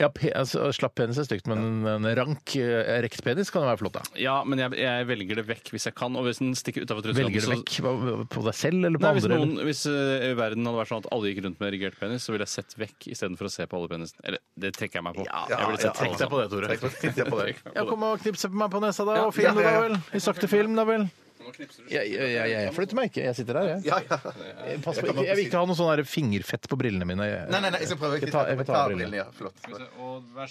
Ja, pe altså, Slapp penis er stygt, men en rank, eh, rekt penis kan jo være flott, da. Ja, men jeg, jeg velger det vekk hvis jeg kan. Og hvis den stikker utafor trusekanten, Velger du så vekk Hva- på deg selv eller på Nei, hvis, andre? eller? noen, hvis eh, verden hadde vært sånn at alle gikk rundt med erigert penis, så ville jeg sett vekk istedenfor å se på alle penisene. Eller, det trekker jeg meg på. jeg ville sett Tenk deg på det, Tore. *laughs* Tore. Ja, kom og knipse på meg på nesa, da. Og ja, film det, da ja, vel. I sakte film, da vel. Jeg, jeg, jeg, jeg flytter meg ikke. Jeg sitter der, jeg. Jeg, pass på, ikke- jeg vil ikke ha noe sånn der fingerfett på brillene mine. Jeg, Nei, nei, nei, jeg skal prøve. Ikke ta- jeg vil ta brillene. Ja, flott.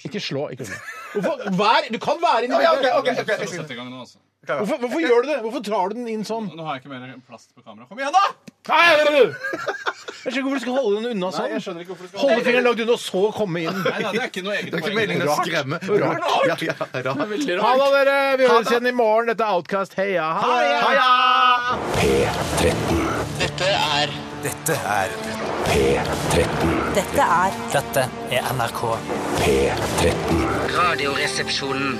Ikke slå. ikke slå. Hvorfor, vær, du kan være inni Ja, ok, bildet! ok, ok, jeg skal- i gang nå, altså. Hvorfor, hvorfor gjør du det? Hvorfor tar du den inn sånn? Nå har jeg ikke mer plast på kamera. Kom igjen, da! Nei, jeg skjønner ikke hvorfor du skal holde den unna sånn. skjønner ikke hvorfor du Holde fingeren langt unna, og så komme inn. Nei, nei, det er ikke noe eget Det er ikke meningen å skremme. Rart. Ja, ja, rart. Ha det, dere. Vi høres igjen i morgen. Dette er Outcast. Heia. Ha det. P13. Dette er Dette er P13. Dette er Dette er NRK. P13. Radioresepsjonen.